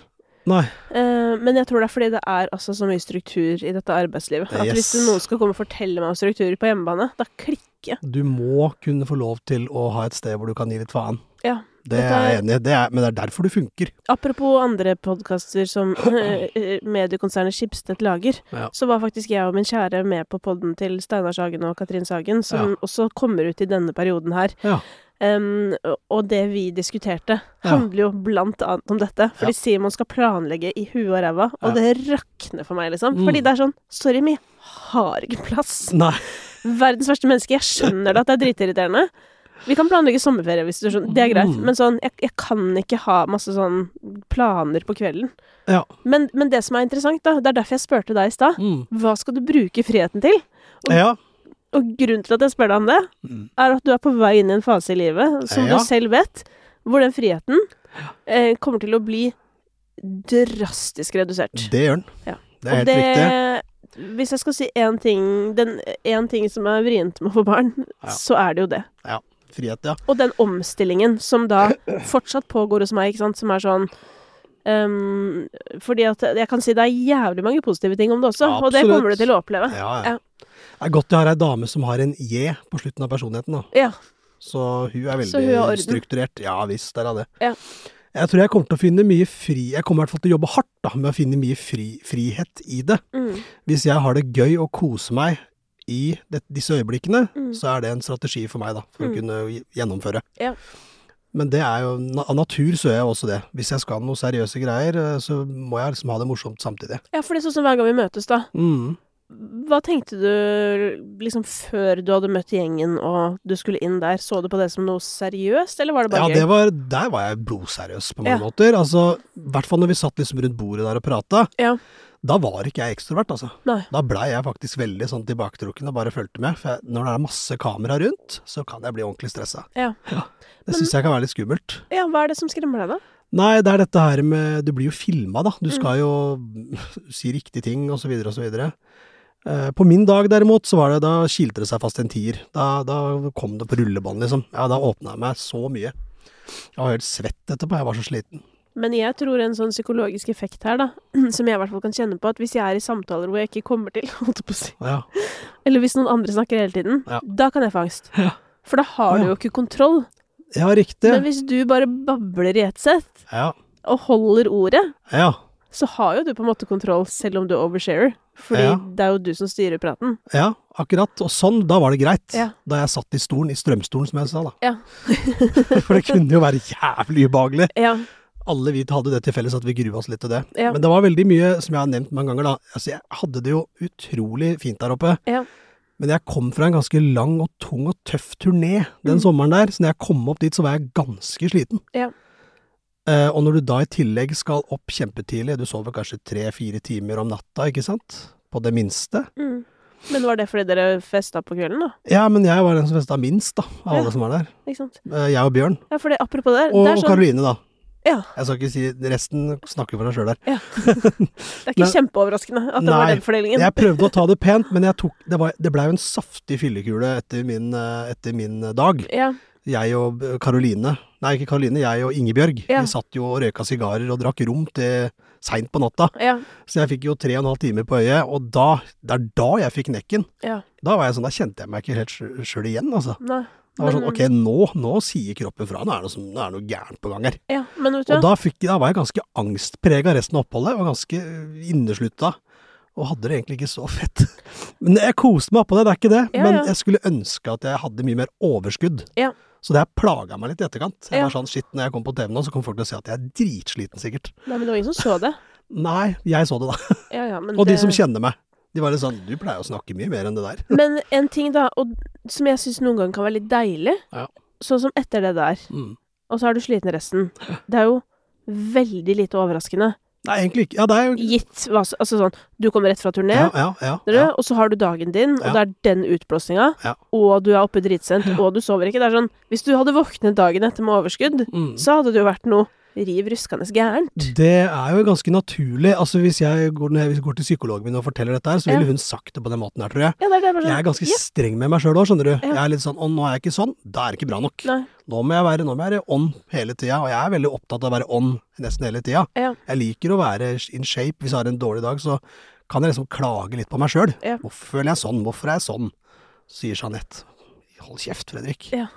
B: Nei.
A: Eh, men jeg tror det er fordi det er altså så mye struktur i dette arbeidslivet. At hvis
B: Yes.
A: noen skal komme og fortelle meg om strukturer på hjemmebane, da klikker jeg.
B: Du må kunne få lov til å ha et sted hvor du kan gi litt faen.
A: Ja.
B: Det
A: Dette
B: er jeg
A: er-
B: enig i, det er, men det er derfor du funker.
A: Apropos andre podkaster som
B: [clears throat]
A: eh, eh, mediekonsernet Skipstedt lager,
B: Ja.
A: så var faktisk jeg og min kjære med på podden til Steinar Sagen og Katrin Sagen, som
B: Ja.
A: også kommer ut i denne perioden her.
B: Ja.
A: Em, og- og det vi diskuterte,
B: Ja.
A: handler jo blant annet om dette. Fordi
B: Ja.
A: Simon skal planlegge i huet og ræva, og
B: Ja.
A: det rakner for meg, liksom.
B: Mm.
A: Fordi det er sånn Sorry, men jeg har ikke plass.
B: Nei.
A: Verdens verste menneske. Jeg skjønner det at det er dritirriterende. Vi kan planlegge sommerferie, hvis du skjønner. Det er greit.
B: Mm.
A: Men sånn, jeg, jeg kan ikke ha masse sånn planer på kvelden.
B: Ja.
A: Men, men det som er interessant, da, det er derfor jeg spurte deg i stad,
B: Mm.
A: hva skal du bruke friheten til?
B: Ja.
A: Og grunnen til at jeg spør deg om det,
B: Mm.
A: er at du er på vei inn i en fase i livet, som
B: Ja.
A: du selv vet, hvor den friheten eh, kommer til å bli drastisk redusert.
B: Det gjør den.
A: Ja.
B: Det er helt
A: Og
B: riktig.
A: Hvis jeg skal si én ting, den én ting som er vrient med å få barn,
B: Ja.
A: så er det jo det.
B: Frihet, ja.
A: Og den omstillingen som
B: [clears throat]
A: da fortsatt pågår hos meg, ikke sant, som er sånn ehm, Fordi at jeg kan si det er jævlig mange positive ting om det også, og det
B: Absolutt.
A: kommer du til å oppleve.
B: Ja, ja.
A: Ja.
B: Det er godt jeg har ei dame som har en J på slutten av personligheten, da.
A: Ja.
B: Så hun er
A: Så hun har
B: veldig
A: orden.
B: strukturert. Ja visst, der er det.
A: Ja.
B: Jeg tror jeg kommer til å finne mye fri Jeg kommer i hvert fall til å jobbe hardt da, med å finne mye fri, frihet i det.
A: Mm.
B: Hvis jeg har det gøy og koser meg i det, disse øyeblikkene,
A: Mm.
B: så er det en strategi for meg, da, for
A: Mm.
B: å kunne gj- gjennomføre.
A: Ja.
B: Men det er jo, na- av natur så gjør jeg også det. Hvis jeg skal noe seriøse greier, eh, så må jeg liksom ha det morsomt samtidig.
A: ja, for det er sånn som hver gang vi møtes, da.
B: Mm.
A: Hva tenkte du liksom før du hadde møtt gjengen og du skulle inn der? Så du på det som noe seriøst, eller var det
B: Ja,
A: bare
B: det
A: gøy?
B: var, der var jeg blodseriøs på
A: Ja.
B: mange måter. Altså, I hvert fall når vi satt liksom rundt bordet der og prata.
A: Ja.
B: Da var ikke jeg ekstrovert, altså.
A: Nei.
B: Da blei jeg faktisk veldig sånn tilbaketrukken og bare fulgte med. For jeg, når det er masse kamera rundt, så kan jeg bli ordentlig stressa.
A: Ja.
B: Det syns jeg kan være litt skummelt.
A: ja, hva er det som skremmer deg, da?
B: Nei, det er dette her med Du blir jo filma, da. Du skal jo [laughs] si riktige ting, og så videre og så videre. Eh, På min dag, derimot, så var det da kilte det seg fast en tier. Da, da kom det på rullebånd, liksom. Ja, da åpna jeg meg så mye. Jeg var helt svett etterpå, jeg var så sliten.
A: Men jeg tror en sånn psykologisk effekt her, da, [clears throat] som jeg i hvert fall kan kjenne på, at hvis jeg er i samtaler hvor jeg ikke kommer til, [laughs] holdt jeg på å si,
B: Ja.
A: eller hvis noen andre snakker hele tiden,
B: Ja.
A: da kan jeg få angst.
B: Ja.
A: For da har
B: Ja.
A: du jo ikke kontroll.
B: ja, riktig.
A: Men hvis du bare babler i ett sett,
B: Ja.
A: og holder ordet,
B: Ja.
A: så har jo du på en måte kontroll, selv om du oversharer. Fordi
B: Ja.
A: det er jo du som styrer praten.
B: Ja, akkurat. Og sånn, da var det greit.
A: Ja.
B: Da jeg satt i stolen, i strømstolen, som jeg sa, da.
A: Ja.
B: [laughs] For det kunne jo være jævlig ubehagelig.
A: Ja.
B: Alle vi hadde det til felles at vi grua oss litt til det.
A: Ja.
B: Men det var veldig mye, som jeg har nevnt mange ganger, da. Altså, jeg hadde det jo utrolig fint der oppe.
A: Ja.
B: Men jeg kom fra en ganske lang og tung og tøff turné den
A: Mm.
B: sommeren der, så når jeg kom opp dit, så var jeg ganske sliten.
A: Ja.
B: Eh, og når du da i tillegg skal opp kjempetidlig, du sover kanskje tre-fire timer om natta, ikke sant? På det minste.
A: Mm. Men var det fordi dere festa på kvelden, da?
B: Ja, men jeg var den som festa minst, da, av
A: Ja.
B: alle som var der.
A: Ikke sant?
B: Eh, Jeg og Bjørn.
A: Ja, for det, apropos det,
B: Og
A: det er
B: og
A: sånn
B: Karoline, da.
A: Ja.
B: Jeg skal ikke si Resten snakker for seg sjøl der.
A: Det er ikke kjempeoverraskende at det var
B: Nei,
A: den fordelingen.
B: Jeg prøvde å ta det pent, men jeg tok, det, var, det ble jo en saftig fyllekule etter min, eh, etter min dag.
A: Ja.
B: Jeg og Karoline Nei, ikke Karoline, jeg og Ingebjørg.
A: Ja.
B: Vi satt jo og røyka sigarer og drakk rom til seint på natta.
A: Ja.
B: Så jeg fikk jo tre og en halv time på øyet, og da, det er da jeg fikk nekken.
A: Ja.
B: Da var jeg sånn, da kjente jeg meg ikke helt sjøl igjen, altså.
A: Nei.
B: Det var sånn,
A: Men-
B: ok, nå, nå sier kroppen fra, nå er det noe, som- nå er det noe gærent på gang her.
A: Ja, men vet du
B: Og
A: hva?
B: da, fikk, da var jeg ganske angstprega resten av oppholdet, og ganske inneslutta. Og hadde det egentlig ikke så fett. [laughs] Men jeg koste meg oppå det, det er ikke det.
A: Ja,
B: Men
A: ja.
B: jeg skulle ønske at jeg hadde mye mer overskudd.
A: Ja.
B: Så det her plaga meg litt i etterkant. Jeg
A: Ja.
B: var sånn, shit, Når jeg kom på TV nå, så kom folk til å se at jeg er dritsliten, sikkert.
A: Nei, men det var ingen som så det.
B: Nei, jeg så det, da.
A: Ja, ja, men
B: Og de
A: det-
B: som kjenner meg. De var litt sånn Du pleier å snakke mye mer enn det der.
A: Men en ting, da, og som jeg syns noen ganger kan være litt deilig,
B: Ja.
A: sånn som etter det der,
B: Mm.
A: og så er du sliten resten. Det er jo veldig lite overraskende.
B: Nei, egentlig ikke. Ja, det er jo
A: Gitt hva som Altså sånn, du kommer rett fra turné.
B: Ja, ja, ja.
A: skjønner
B: ja.
A: du? Og så har du dagen din, og
B: Ja.
A: det er den utblåsninga,
B: Ja.
A: og du er oppe dritsent, og du sover ikke. Det er sånn Hvis du hadde våknet dagen etter med overskudd,
B: Mm.
A: så hadde det jo vært noe riv ruskende gærent.
B: Det er jo ganske naturlig. Altså, hvis jeg går, når jeg går til psykologen min og forteller dette her, så ville
A: Ja.
B: hun sagt det på den måten her, tror jeg.
A: Ja, det er det bare sånn.
B: Jeg er ganske
A: ja.
B: streng med meg sjøl òg, skjønner du.
A: Ja.
B: Jeg er litt sånn 'Å, nå er jeg ikke sånn'. Da er det ikke bra nok.
A: Nei.
B: Nå må jeg være nå må jeg være on hele tida, og jeg er veldig opptatt av å være on nesten hele tida.
A: Ja.
B: Jeg liker å være in shape. Hvis jeg har en dårlig dag, så kan jeg liksom klage litt på meg sjøl.
A: Ja.
B: Hvorfor føler jeg sånn? Hvorfor er jeg sånn? Sier Jeanette. Hold kjeft, Fredrik.
A: Ja.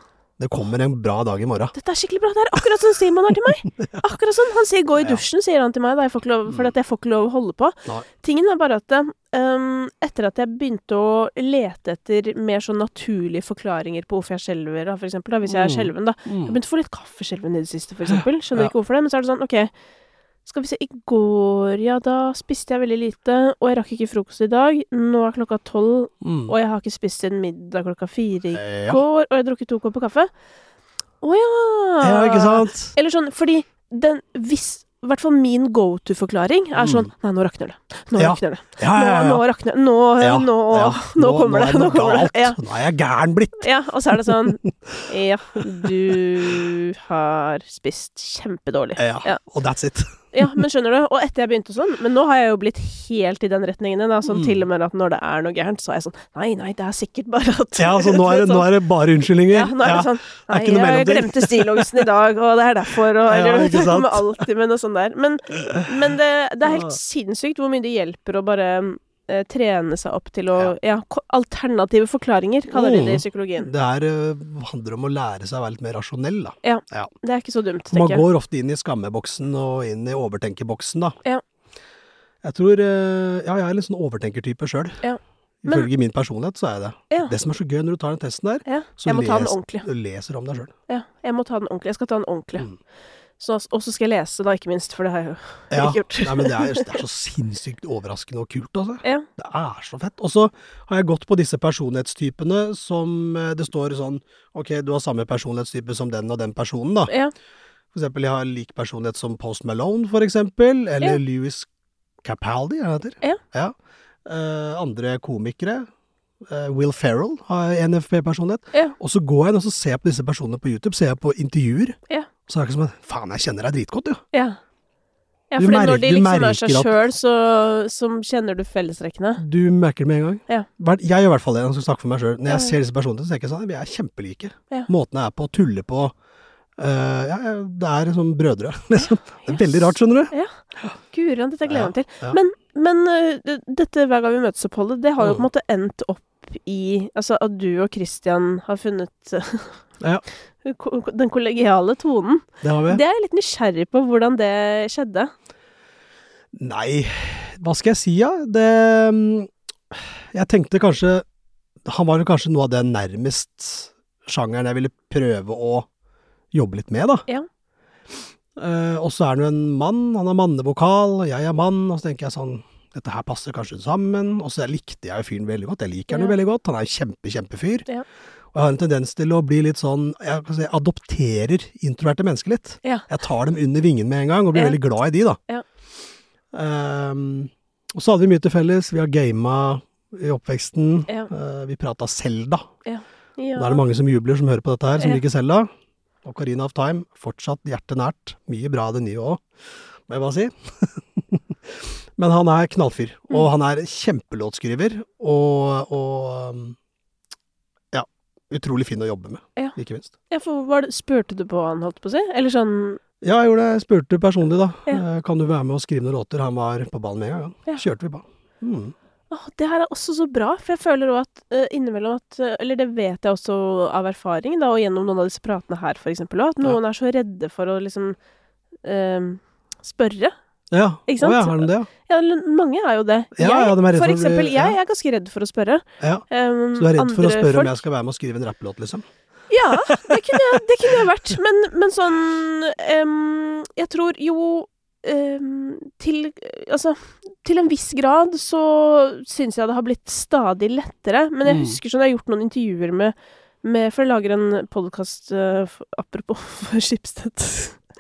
B: Det kommer en bra dag i morgen.
A: Dette er skikkelig bra. Det er akkurat sånn Simon er til
B: [laughs]
A: meg. Akkurat sånn. Han sier 'gå i
B: Ja.
A: dusjen', sier han til meg, da jeg får ikke lov, fordi at jeg får ikke lov å holde på.
B: Nei.
A: Tingen er bare at ehm, etter at jeg begynte å lete etter mer sånn naturlige forklaringer på hvorfor jeg skjelver, da, for eksempel, da, hvis jeg er
B: Mm.
A: skjelven, da, Jeg
B: Mm.
A: begynte å få litt kaffeskjelven i det siste, for eksempel. Skjønner
B: Ja.
A: ikke hvorfor det, men så er det sånn, ok. Skal vi se, i går, ja, da spiste jeg veldig lite, og jeg rakk ikke frokost i dag. Nå er klokka tolv,
B: Mm.
A: og jeg har ikke spist siden middag klokka fire i
B: Ja.
A: går, og jeg har drukket to kopper kaffe. Å ja!
B: ja, ikke sant?
A: Eller sånn, fordi den, hvis, i hvert fall min go-to-forklaring er sånn, nei, nå rakner det. Nå
B: Mm. Ja.
A: rakner det.
B: Ja,
A: Nå,
B: ja, ja.
A: nå rakner det. Nå,
B: Ja,
A: Eh, nå,
B: ja.
A: nå kommer
B: er
A: det. Nå
B: noe
A: kommer det.
B: galt.
A: Ja.
B: Nå er jeg gæren blitt.
A: Ja, og så er det sånn Ja, du har spist kjempedårlig.
B: Ja.
A: Ja.
B: Og that's it.
A: Ja, men skjønner du? Og etter jeg begynte sånn Men nå har jeg jo blitt helt i den retningen igjen. da, Sånn
B: Mm.
A: til og med at når det er noe gærent, så er jeg sånn Nei, nei, det er sikkert bare at Sånn
B: Ja, så nå
A: [laughs]
B: er det, nå er det bare unnskyldninger.
A: ja, nå er det sånn
B: er
A: Nei,
B: ikke noe
A: jeg
B: mellomting.
A: glemte stillongsen i dag, og det er derfor, og
B: [laughs] Ja,
A: eller,
B: ikke
A: Det
B: sant?
A: kommer alltid [laughs] med noe sånt der. Men, men det, det er helt
B: Ja.
A: sinnssykt hvor mye det hjelper å bare eh, trene seg opp til å Ja, ko- alternative forklaringer, kaller de det
B: Mm.
A: i psykologien.
B: Det her eh, handler om å lære seg å være litt mer rasjonell, da.
A: Det er ikke så dumt,
B: Man
A: tenker jeg.
B: går ofte inn i skammeboksen og inn i overtenkeboksen, da.
A: Ja.
B: Jeg tror eh, Ja, jeg er litt sånn overtenkertype sjøl.
A: Ja. Men-
B: Ifølge min personlighet så er jeg det.
A: Ja.
B: Det som er så gøy når du tar den testen der,
A: Ja,
B: så
A: jeg må ta den
B: les-
A: ordentlig.
B: du leser om deg sjøl.
A: Ja, jeg må ta den ordentlig. Jeg skal ta den ordentlig.
B: Mm.
A: Så, og så skal jeg lese, da, ikke minst, for det har jeg jo
B: Ja.
A: ikke gjort.
B: Nei, men det er, det er så sinnssykt overraskende og kult, altså.
A: Ja.
B: Det er så fett. Og så har jeg gått på disse personlighetstypene som eh, det står sånn Ok, du har samme personlighetstype som den og den personen, da.
A: Ja.
B: For eksempel, jeg har lik personlighet som Post Malone, for eksempel.
A: Ja.
B: Eller Louis Capaldi, er det det
A: Ja.
B: heter? Ja. Eh, andre komikere. eh, Will Ferrell har NFP-personlighet.
A: Ja.
B: Og så går jeg inn og så ser jeg på disse personene på YouTube, ser jeg på intervjuer.
A: Ja.
B: Så er det ikke som at Faen, jeg kjenner deg dritgodt, jo.
A: ja. Ja,
B: Du
A: for
B: merker-
A: når de
B: du
A: liksom er seg
B: merker at-
A: sjøl, så, så kjenner du fellestrekkene.
B: Du merker det med en gang.
A: Ja.
B: Hver- Jeg gjør i hvert fall det, jeg skal snakke for meg sjøl. Når
A: Ja.
B: jeg ser disse personene, så tenker jeg sånn Vi er kjempelike.
A: Ja.
B: Måten jeg er på å tulle på, Eh, ja, ja, det er sånn brødre, [laughs] liksom. Det er veldig rart, skjønner du.
A: Guran, dette gleder jeg meg til.
B: Ja, ja.
A: Men, men øh, det- dette hver gang vi møtes-oppholdet, det har jo på en
B: Mm.
A: måte endt opp i Altså at du og Christian har funnet [laughs]
B: Ja.
A: ko- ko- den kollegiale tonen.
B: Det har vi.
A: Det er jeg litt nysgjerrig på hvordan det skjedde.
B: Nei, hva skal jeg si, ja? Det mm, Jeg tenkte kanskje Han var jo kanskje noe av det nærmest sjangeren jeg ville prøve å jobbe litt med, da.
A: Ja.
B: Eh, og så er han jo en mann, han har mannevokal, og jeg er mann, og så tenker jeg sånn Dette her passer kanskje sammen, og så likte jeg jo fyren veldig godt, jeg liker han jo
A: Ja.
B: veldig godt, han er jo kjempe, kjempefyr.
A: Ja.
B: Og jeg har en tendens til å bli litt sånn, jeg kan si, adopterer introverte mennesker litt.
A: Ja.
B: Jeg tar dem under vingen med en gang, og blir
A: Ja.
B: veldig glad i de, da.
A: Ja.
B: Ehm, og så hadde vi mye til felles. Vi har gama i oppveksten.
A: Ja.
B: Eh, vi prata Selda.
A: Ja.
B: Da er det mange som jubler, som hører på dette her, som
A: Ja.
B: liker Selda. Og Karina of Time, fortsatt hjertet nært. Mye bra av det nye òg, må jeg bare si. [laughs] Men han er knallfyr.
A: Mm.
B: Og han er kjempelåtskriver. Og, og um, ja, utrolig fin å jobbe med,
A: Ja.
B: ikke minst.
A: ja, for var det, spurte du på han, holdt på å si? Eller sånn
B: Ja, jeg gjorde det. Jeg spurte personlig, da.
A: Ja.
B: Eh, Kan du være med og skrive noen låter? Han var på ballen med en gang.
A: Ja.
B: Ja. Kjørte vi på. Mm.
A: Åh, det her er også så bra, for jeg føler òg at eh, innimellom at eh, Eller det vet jeg også av erfaring, da, og gjennom noen av disse pratene her, for eksempel, også, at
B: Ja.
A: noen er så redde for å liksom eh, spørre.
B: Ja.
A: Ikke sant?
B: Å, ja, har de det? ja?
A: Ja, eller mange er jo det.
B: Ja, ja, de er redde
A: for
B: for å bli-
A: eksempel, jeg
B: ja.
A: er ganske redd for å spørre.
B: Ja.
A: Um,
B: Så du er redd for å
A: andre
B: spørre
A: folk-
B: om jeg skal være med og skrive en rapplåt,
A: [laughs]
B: liksom?
A: Ja, det kunne jeg, det kunne jeg vært. Men, men sånn em, Jeg tror jo em, til, altså, til en viss grad så syns jeg det har blitt stadig lettere. Men jeg
B: Mm.
A: husker sånn, jeg har gjort noen intervjuer med, med For jeg lager en podkast apropos [laughs] for Schibsted.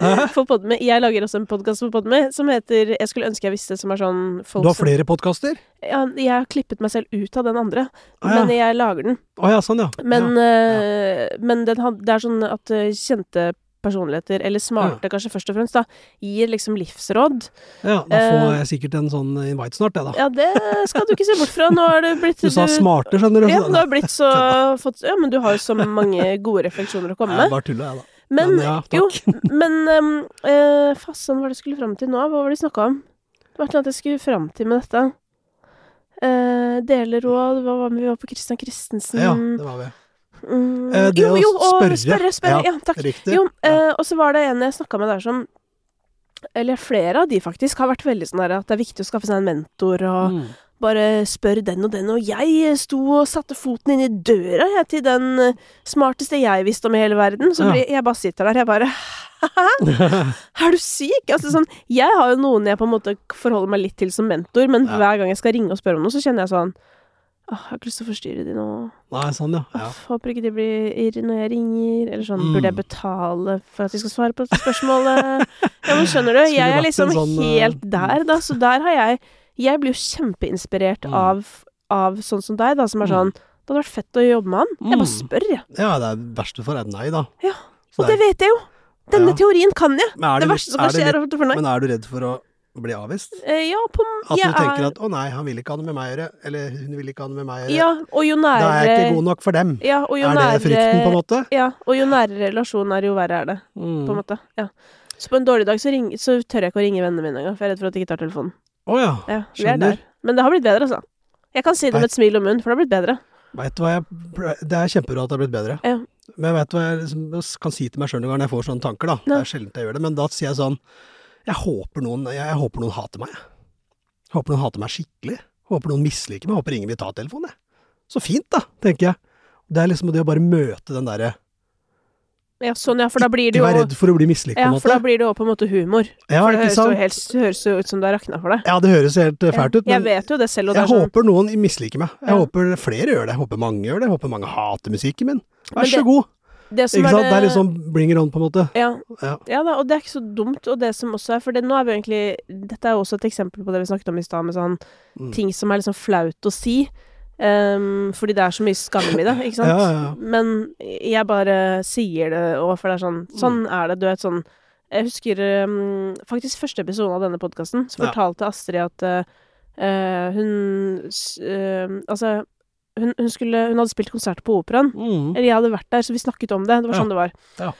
B: Hæ?
A: For Podme. Jeg lager også en podkast for Podme som heter 'Jeg skulle ønske jeg visste', som er sånn folk
B: Du har
A: som-
B: flere podkaster?
A: ja, Jeg har klippet meg selv ut av den andre,
B: Å ja.
A: men jeg lager den.
B: Å ja, sånn ja.
A: Men,
B: ja.
A: eh, men den had, det er sånn at eh, kjente personligheter, eller smarte kanskje først og fremst, da, gir liksom livsråd.
B: ja, da får
A: eh,
B: jeg sikkert en sånn invite snart, jeg, da.
A: Ja, det skal du ikke se bort fra. Nå er det blitt
B: Du sa smarte, skjønner du.
A: Ja,
B: så-
A: du har blitt så fått, ja, men du har jo så mange gode refleksjoner å komme
B: Nei,
A: med.
B: jeg bare tulla, jeg, da.
A: Men,
B: ja,
A: jo,
B: takk. [laughs]
A: men um, eh, Fassan, hva var det jeg skulle fram til nå? Hva var det de snakka om? Det var et eller annet jeg skulle fram til med dette. Uh, Deleråd, hva var det vi var på Christian Christensen?
B: Ja, det var vi.
A: Mm,
B: Eh, det
A: jo,
B: å
A: jo, og
B: spørre.
A: spørre, spørre. Ja, takk.
B: Riktig.
A: Jo,
B: Ja.
A: eh, og så var det en jeg snakka med der som Eller flere av de faktisk har vært veldig sånn der at det er viktig å skaffe seg en mentor og
B: Mm. [laughs]
A: bare spørre den og den. Og jeg sto og satte foten inn i døra jeg, til den eh, smarteste jeg visste om i hele verden. Så
B: Ja.
A: blir- jeg bare sitter der, jeg bare Er du syk?! Altså sånn Jeg har jo noen jeg på en måte forholder meg litt til som mentor, men
B: Ja.
A: hver gang jeg skal ringe og spørre om noe, så kjenner jeg sånn Åh, jeg har ikke lyst til å forstyrre de nå.
B: Nei, sånn ja. ja.
A: Uff, håper ikke de blir irr når jeg ringer. Eller sånn,
B: Mm.
A: burde jeg betale for at de skal svare på dette spørsmålet? ja, men skjønner du,
B: [laughs] Skulle
A: jeg er
B: vært en
A: liksom
B: sånn, eh,
A: helt der, da. Så der har jeg Jeg blir jo kjempeinspirert
B: Mm.
A: av, av sånn som deg, da, som er sånn Det hadde vært fett å jobbe med han. Jeg bare
B: Mm.
A: spør, jeg.
B: Ja, det er verste for et nei, da.
A: Ja.
B: Så
A: Og det
B: er-
A: vet jeg jo! Denne
B: Ja.
A: teorien kan jeg!
B: Men er
A: Det
B: litt-
A: verste som kan
B: er det
A: skje,
B: litt-
A: er å få nei.
B: Men er du redd for å bli avvist?
A: Eh, Ja, på
B: At
A: jeg
B: du tenker
A: er-
B: at 'å nei, han vil ikke ha noe med meg å gjøre', eller 'hun vil ikke ha noe med meg å gjøre'.
A: Ja, og jo
B: Da er jeg ikke
A: nærere
B: god nok for dem.
A: ja, og jo
B: Er det
A: nærere-
B: frykten, på en måte?
A: Ja, og jo nærere relasjon er, jo verre er det. på en
B: Mm.
A: måte. Ja. Så på en dårlig dag så, ring, så tør jeg ikke å ringe vennene mine engang, for jeg er redd for at de ikke tar telefonen.
B: Å ja.
A: Ja, vi er
B: Skjønner.
A: der. Men det har blitt bedre, altså. Jeg kan si det med et smil om munnen, for det har blitt bedre.
B: Vet du hva jeg ble- Det er kjempebra at det har blitt bedre.
A: Ja.
B: Men vet du hva jeg liksom kan si til meg sjøl når jeg får sånne tanker, da? Det
A: Nei.
B: er sjelden jeg gjør det, men da sier jeg sånn Jeg håper noen, jeg, jeg håper noen hater meg. Jeg håper noen hater meg skikkelig. Jeg håper noen misliker meg. Jeg håper ingen vil ta telefonen, jeg. Så fint, da, tenker jeg. Det er liksom det å bare møte den derre
A: Ja, sånn, ja, for da blir det
B: Du
A: jo
B: er redd for å bli mislikt, på
A: ja,
B: en
A: for da
B: måte.
A: blir det jo på en måte humor.
B: Ja,
A: For det
B: ikke
A: høres jo,
B: sant?
A: helt, høres jo ut som det har rakna for deg.
B: Ja, det høres helt eh, fælt ut,
A: jeg
B: men
A: vet jo det selv, og det
B: Jeg
A: er sånn.
B: håper noen misliker meg. Jeg
A: Ja.
B: håper flere gjør det. Jeg håper mange gjør det. Jeg håper mange hater musikken min.
A: Men
B: Vær så
A: det-
B: god.
A: Det som
B: Ikke sant? Det er
A: det-
B: liksom bring it on, på en måte.
A: ja,
B: Ja.
A: ja da, og det er ikke så dumt, og det som også er For det, nå er vi jo egentlig Dette er jo også et eksempel på det vi snakket om i stad, med sånn
B: Mm.
A: ting som er liksom flaut å si. ehm, fordi det er så mye skam i det, ikke sant?
B: Ja, ja, ja.
A: Men jeg bare sier det, og for det er
B: Mm.
A: sånn Sånn er det, du vet sånn Jeg husker ehm, faktisk første episode av denne podkasten, så
B: Ja.
A: fortalte Astrid at eh, eh, hun s- ehm, Altså, hun, hun skulle Hun hadde spilt konsert på operaen.
B: Mm.
A: Eller jeg hadde vært der, så vi snakket om det. Det var sånn det var.
B: Ja.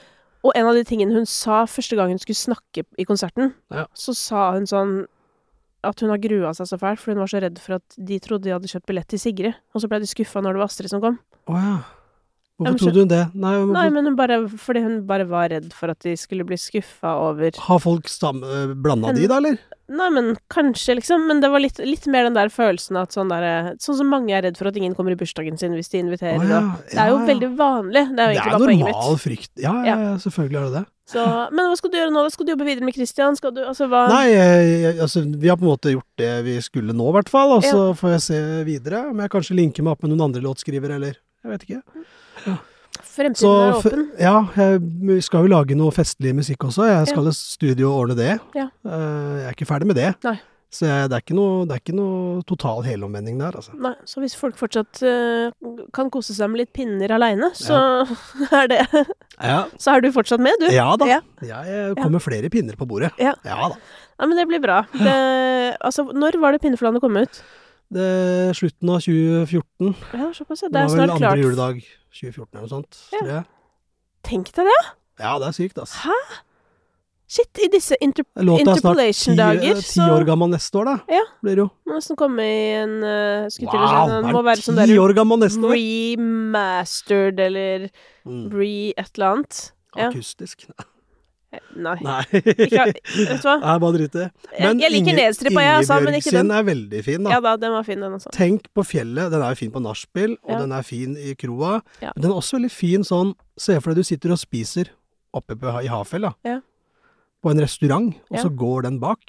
A: Og en av de tingene hun sa første gang hun skulle snakke i konserten,
B: Ja.
A: så sa hun sånn at hun har grua seg så fælt, for hun var så redd for at de trodde de hadde kjøpt billett til Sigrid. Og så ble de skuffa når det var Astrid som kom.
B: Å ja.
A: Ja, men
B: Hvorfor trodde hun det? Nei, men,
A: Nei, men hun bare, fordi hun bare var redd for at de skulle bli skuffa over
B: Har folk stam- øh, blanda de, da, eller?
A: Nei, men kanskje, liksom. Men det var litt, litt mer den der følelsen at sånn derre Sånn som mange er redd for at ingen kommer i bursdagen sin hvis de inviterer.
B: Å, ja.
A: og- Det er jo
B: Ja, ja.
A: veldig vanlig. Det er jo egentlig
B: Det er
A: bare poenget mitt.
B: normal frykt. Ja, ja, ja, selvfølgelig er det det.
A: Så, men hva skal du gjøre nå? da? Skal du jobbe videre med Christian? Skal du, altså, hva
B: Nei, jeg- jeg- altså, vi har på en måte gjort det vi skulle nå, i hvert fall. Og så får jeg se videre om jeg kanskje linker meg opp med noen andre låtskrivere, eller jeg vet ikke.
A: Fremtiden er
B: Så f-
A: åpen.
B: ja, jeg vi skal jo lage noe festlig musikk også. Jeg skal i studio og ordne det.
A: Ja.
B: Eh, Jeg er ikke ferdig med det.
A: Nei.
B: Så jeg, det, er ikke noe, det er ikke noe total helomvending der, altså.
A: Nei, så hvis folk fortsatt eh, kan kose seg med litt pinner aleine, så, [laughs] er det-
B: Ja,
A: så er du fortsatt med, du.
B: ja da.
A: Ja.
B: Jeg kommer flere pinner på bordet.
A: Ja.
B: da.
A: Ja, men det blir
B: [laughs]
A: bra. Det, altså, når var det Pinneflandet kom ut?
B: Det er slutten av 2014.
A: Ja, såpass, ja.
B: Det
A: Det er
B: var vel
A: snart
B: andre
A: klart.
B: juledag 2014 eller noe sånt.
A: Ja.
B: tror jeg.
A: Tenk deg det!
B: Ja, det er sykt, altså.
A: Hæ? Shit, i disse inter...
B: Låta er snart ti,
A: Interpolation-dager,
B: eh, ti
A: så-
B: år gammel neste år, da.
A: Ja.
B: Blir det jo.
A: Må nesten komme i en uh, skutt eller
B: Wow,
A: sånn. Den
B: er
A: Må
B: den
A: være sånn
B: ti
A: der
B: år gammel neste år!
A: remastered eller
B: Mm.
A: re et eller annet. Ja.
B: Akustisk. [laughs]
A: Nei.
B: Nei.
A: Ikke,
B: [laughs] Nei,
A: vet du hva?
B: bare drit i det.
A: jeg, jeg liker
B: Inge-
A: nedstrippa, jeg, altså, men ikke den.
B: Ingebjørgsen er veldig fin, da.
A: Ja da, den var fin, den også.
B: Tenk på fjellet. Den er jo fin på nachspiel, og
A: Ja.
B: den er fin i kroa.
A: Ja.
B: Men den er også veldig fin sånn Se for deg du sitter og spiser oppe på, i Hafjell, da.
A: Ja.
B: På en restaurant, og
A: Ja.
B: så går den bak.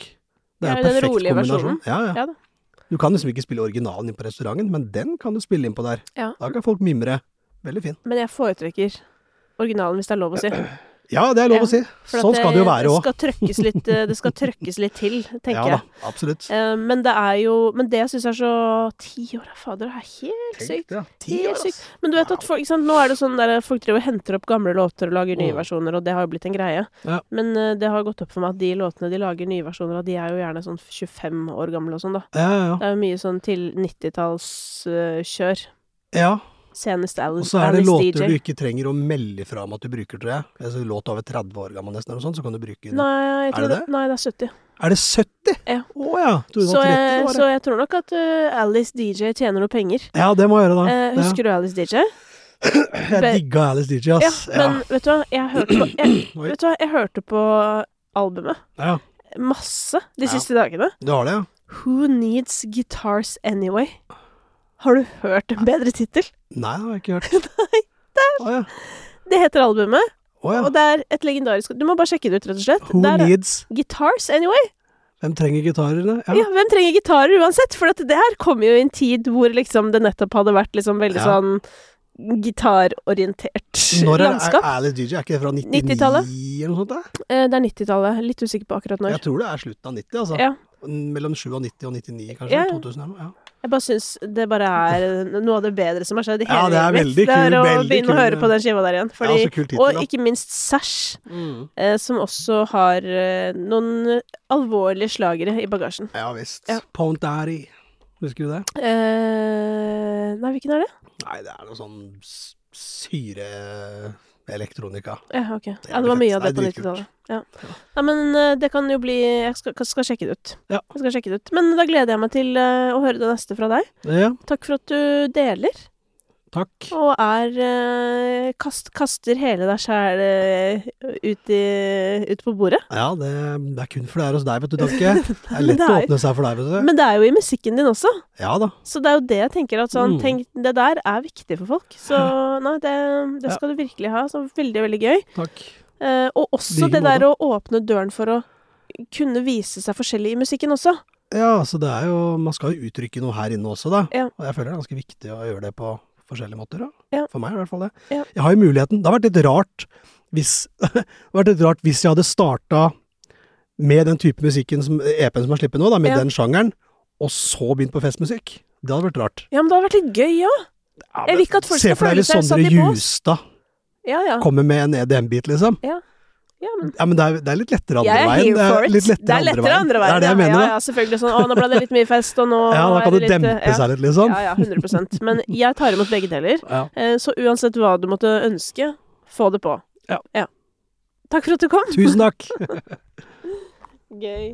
B: Det
A: Ja,
B: er
A: den
B: en perfekt
A: rolige
B: kombinasjon.
A: versjonen.
B: Ja, ja.
A: Ja da.
B: Du kan liksom ikke spille originalen inn på restauranten, men den kan du spille inn på der.
A: Ja.
B: Da kan folk mimre. Veldig fin.
A: Men jeg foretrekker originalen, hvis det er lov
B: [clears throat]
A: å si.
B: Ja, det er lov
A: Ja,
B: å si.
A: For at
B: Sånn skal det jo være
A: Det
B: òg.
A: skal trøkkes litt, eh, det skal trøkkes litt til, tenker
B: [laughs] Ja da,
A: jeg.
B: absolutt.
A: Eh, Men det er jo Men det jeg syns er så Ti år, ja, fader, det er helt
B: Tenk
A: sykt.
B: det, ja. Ti
A: Helt
B: år, ass.
A: sykt. Men du vet at folk, ikke sant? nå er det sånn der folk driver og henter opp gamle låter og lager nye
B: Mm.
A: versjoner, og det har jo blitt en greie.
B: Ja.
A: Men eh, det har gått opp for meg at de låtene de lager nye versjoner av, de er jo gjerne sånn 25 år gamle og sånn, da.
B: altså. Ja, ja, ja.
A: Det er jo mye sånn til 90-tallskjør.
B: ja.
A: Senest
B: Og
A: Alice,
B: så er det
A: Alice
B: låter du
A: DJ.
B: ikke trenger å melde fra om at du bruker, tror jeg. Altså, låt over 30 år gammel nesten, eller noe sånt, så kan du bruke den.
A: Nei, jeg
B: Er
A: tror
B: det
A: det, nei, det er 70.
B: Er det 70?
A: Ja.
B: Å ja. Du,
A: Så jeg,
B: år,
A: så jeg tror nok at eh, Alice DJ tjener noe penger.
B: ja, det må jeg gjøre, da.
A: Eh, husker du Alice DJ?
B: ja. Jeg digga Alice DJ,
A: Ja,
B: ass. Ja,
A: men vet du hva, jeg hørte på, jeg,
B: [clears throat] Oi.
A: vet du hva, jeg hørte på albumet
B: ja.
A: masse de
B: Ja.
A: siste dagene.
B: Du har det, ja?
A: Who Needs Guitars Anyway? Har du hørt en bedre tittel?
B: Nei, det har jeg ikke
A: [laughs]
B: hørt. Å ja.
A: Det heter albumet,
B: Å ja.
A: og det er et legendarisk Du må bare sjekke det ut, rett og slett.
B: Who
A: Der er-
B: needs
A: Guitars Anyway?
B: Hvem trenger gitarene?
A: Ja. hvem trenger gitarer uansett? For at det her kom jo i en tid hvor liksom det nettopp hadde vært liksom veldig
B: Ja.
A: sånn gitarorientert
B: Når er, er
A: landskap.
B: Alice DJ? Er ikke det fra 99
A: 90-tallet?
B: eller noe sånt? Da?
A: Eh, det er 90-tallet. Litt usikker på akkurat når.
B: Jeg tror det er slutten av 90, altså.
A: Ja.
B: Mellom 97 og 99, kanskje.
A: Ja.
B: 2000 eller noe. Ja.
A: Jeg bare syns det bare er noe av det bedre som har skjedd i
B: Ja,
A: hele
B: det er
A: livet mitt.
B: veldig kul,
A: det er å
B: veldig
A: begynne
B: kul,
A: å høre
B: ja.
A: på den skiva der igjen. Fordi,
B: ja, så kul tittel,
A: og
B: da.
A: ikke minst Sash, eh, som også har eh, noen alvorlige slagere i bagasjen.
B: Ja visst.
A: Ja.
B: Pound Daddy. Husker du det?
A: Eh, nei, hvilken er det?
B: Nei, det er noe sånn s- syre... Elektronika.
A: Ja, ok.
B: er
A: Ja, det var
B: fett.
A: mye av det på
B: Det er dritkult.
A: 90-tallet. Ja. Nei, men eh, det kan jo bli Jeg skal, skal sjekke det ut.
B: Ja.
A: Jeg skal sjekke det ut. Men da gleder jeg meg til eh, å høre det neste fra deg.
B: Ja,
A: Takk for at du deler.
B: takk.
A: Og er eh, kast, kaster hele deg sjæl eh, ut, i- ut på bordet.
B: Ja, det, det er kun for det er hos deg, vet du,
A: [laughs]
B: Tanke. Det er
A: Men
B: lett
A: det
B: å
A: er-
B: åpne seg for deg, vet du.
A: Men det er jo i musikken din også,
B: Ja da.
A: så det er jo det jeg tenker at sånn
B: Mm.
A: Tenk, det der er viktig for folk.
B: [laughs]
A: Så nei, det, det
B: Ja.
A: skal du virkelig ha. Så veldig, veldig gøy.
B: Takk.
A: Eh, og også
B: Like
A: det der å åpne døren for å kunne vise seg forskjellig i musikken også.
B: Ja, så det er jo Man skal jo uttrykke noe her inne også, da.
A: Ja.
B: Og jeg føler det er ganske viktig å gjøre det på forskjellige måter, da.
A: Ja.
B: For meg i hvert fall det.
A: Ja.
B: Jeg har jo muligheten. Det har vært litt rart hvis [laughs] Det har vært litt rart hvis jeg hadde starta med den type musikken som EP-en som er sluppet nå, da, med
A: Ja.
B: den sjangeren, og så begynt på festmusikk. Det hadde vært rart.
A: Ja, men det hadde vært litt gøy òg.
B: Ja,
A: Jeg vil ikke at folk
B: Se
A: skal
B: for deg
A: føle
B: hvis
A: seg satt
B: Sondre
A: i bås.
B: Justad
A: Ja, ja.
B: kommer med en EDM-bit, liksom.
A: ja men
B: Ja, men det er, det er litt lettere andre
A: jeg er
B: veien.
A: here
B: Det er
A: for it.
B: litt
A: det er lettere andre veien.
B: Det er det jeg mener,
A: ja,
B: da.
A: ja, selvfølgelig. Sånn, å, nå ble det litt mye fest, og nå
B: [laughs] Ja, da
A: er det
B: kan det
A: litt,
B: dempe
A: eh, ja.
B: seg litt, liksom.
A: Ja, ja, 100 Men jeg tar imot begge deler.
B: Ja.
A: Eh, Så uansett hva du måtte ønske, få det på.
B: Ja.
A: Takk for at du kom.
B: Tusen takk!
A: Gøy.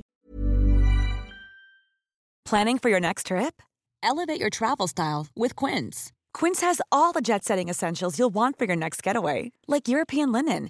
C: Planning for your next trip? Elevate your travel style with Quince. Quince has all the jet setting essentials you'll want for your next getaway, like European linen,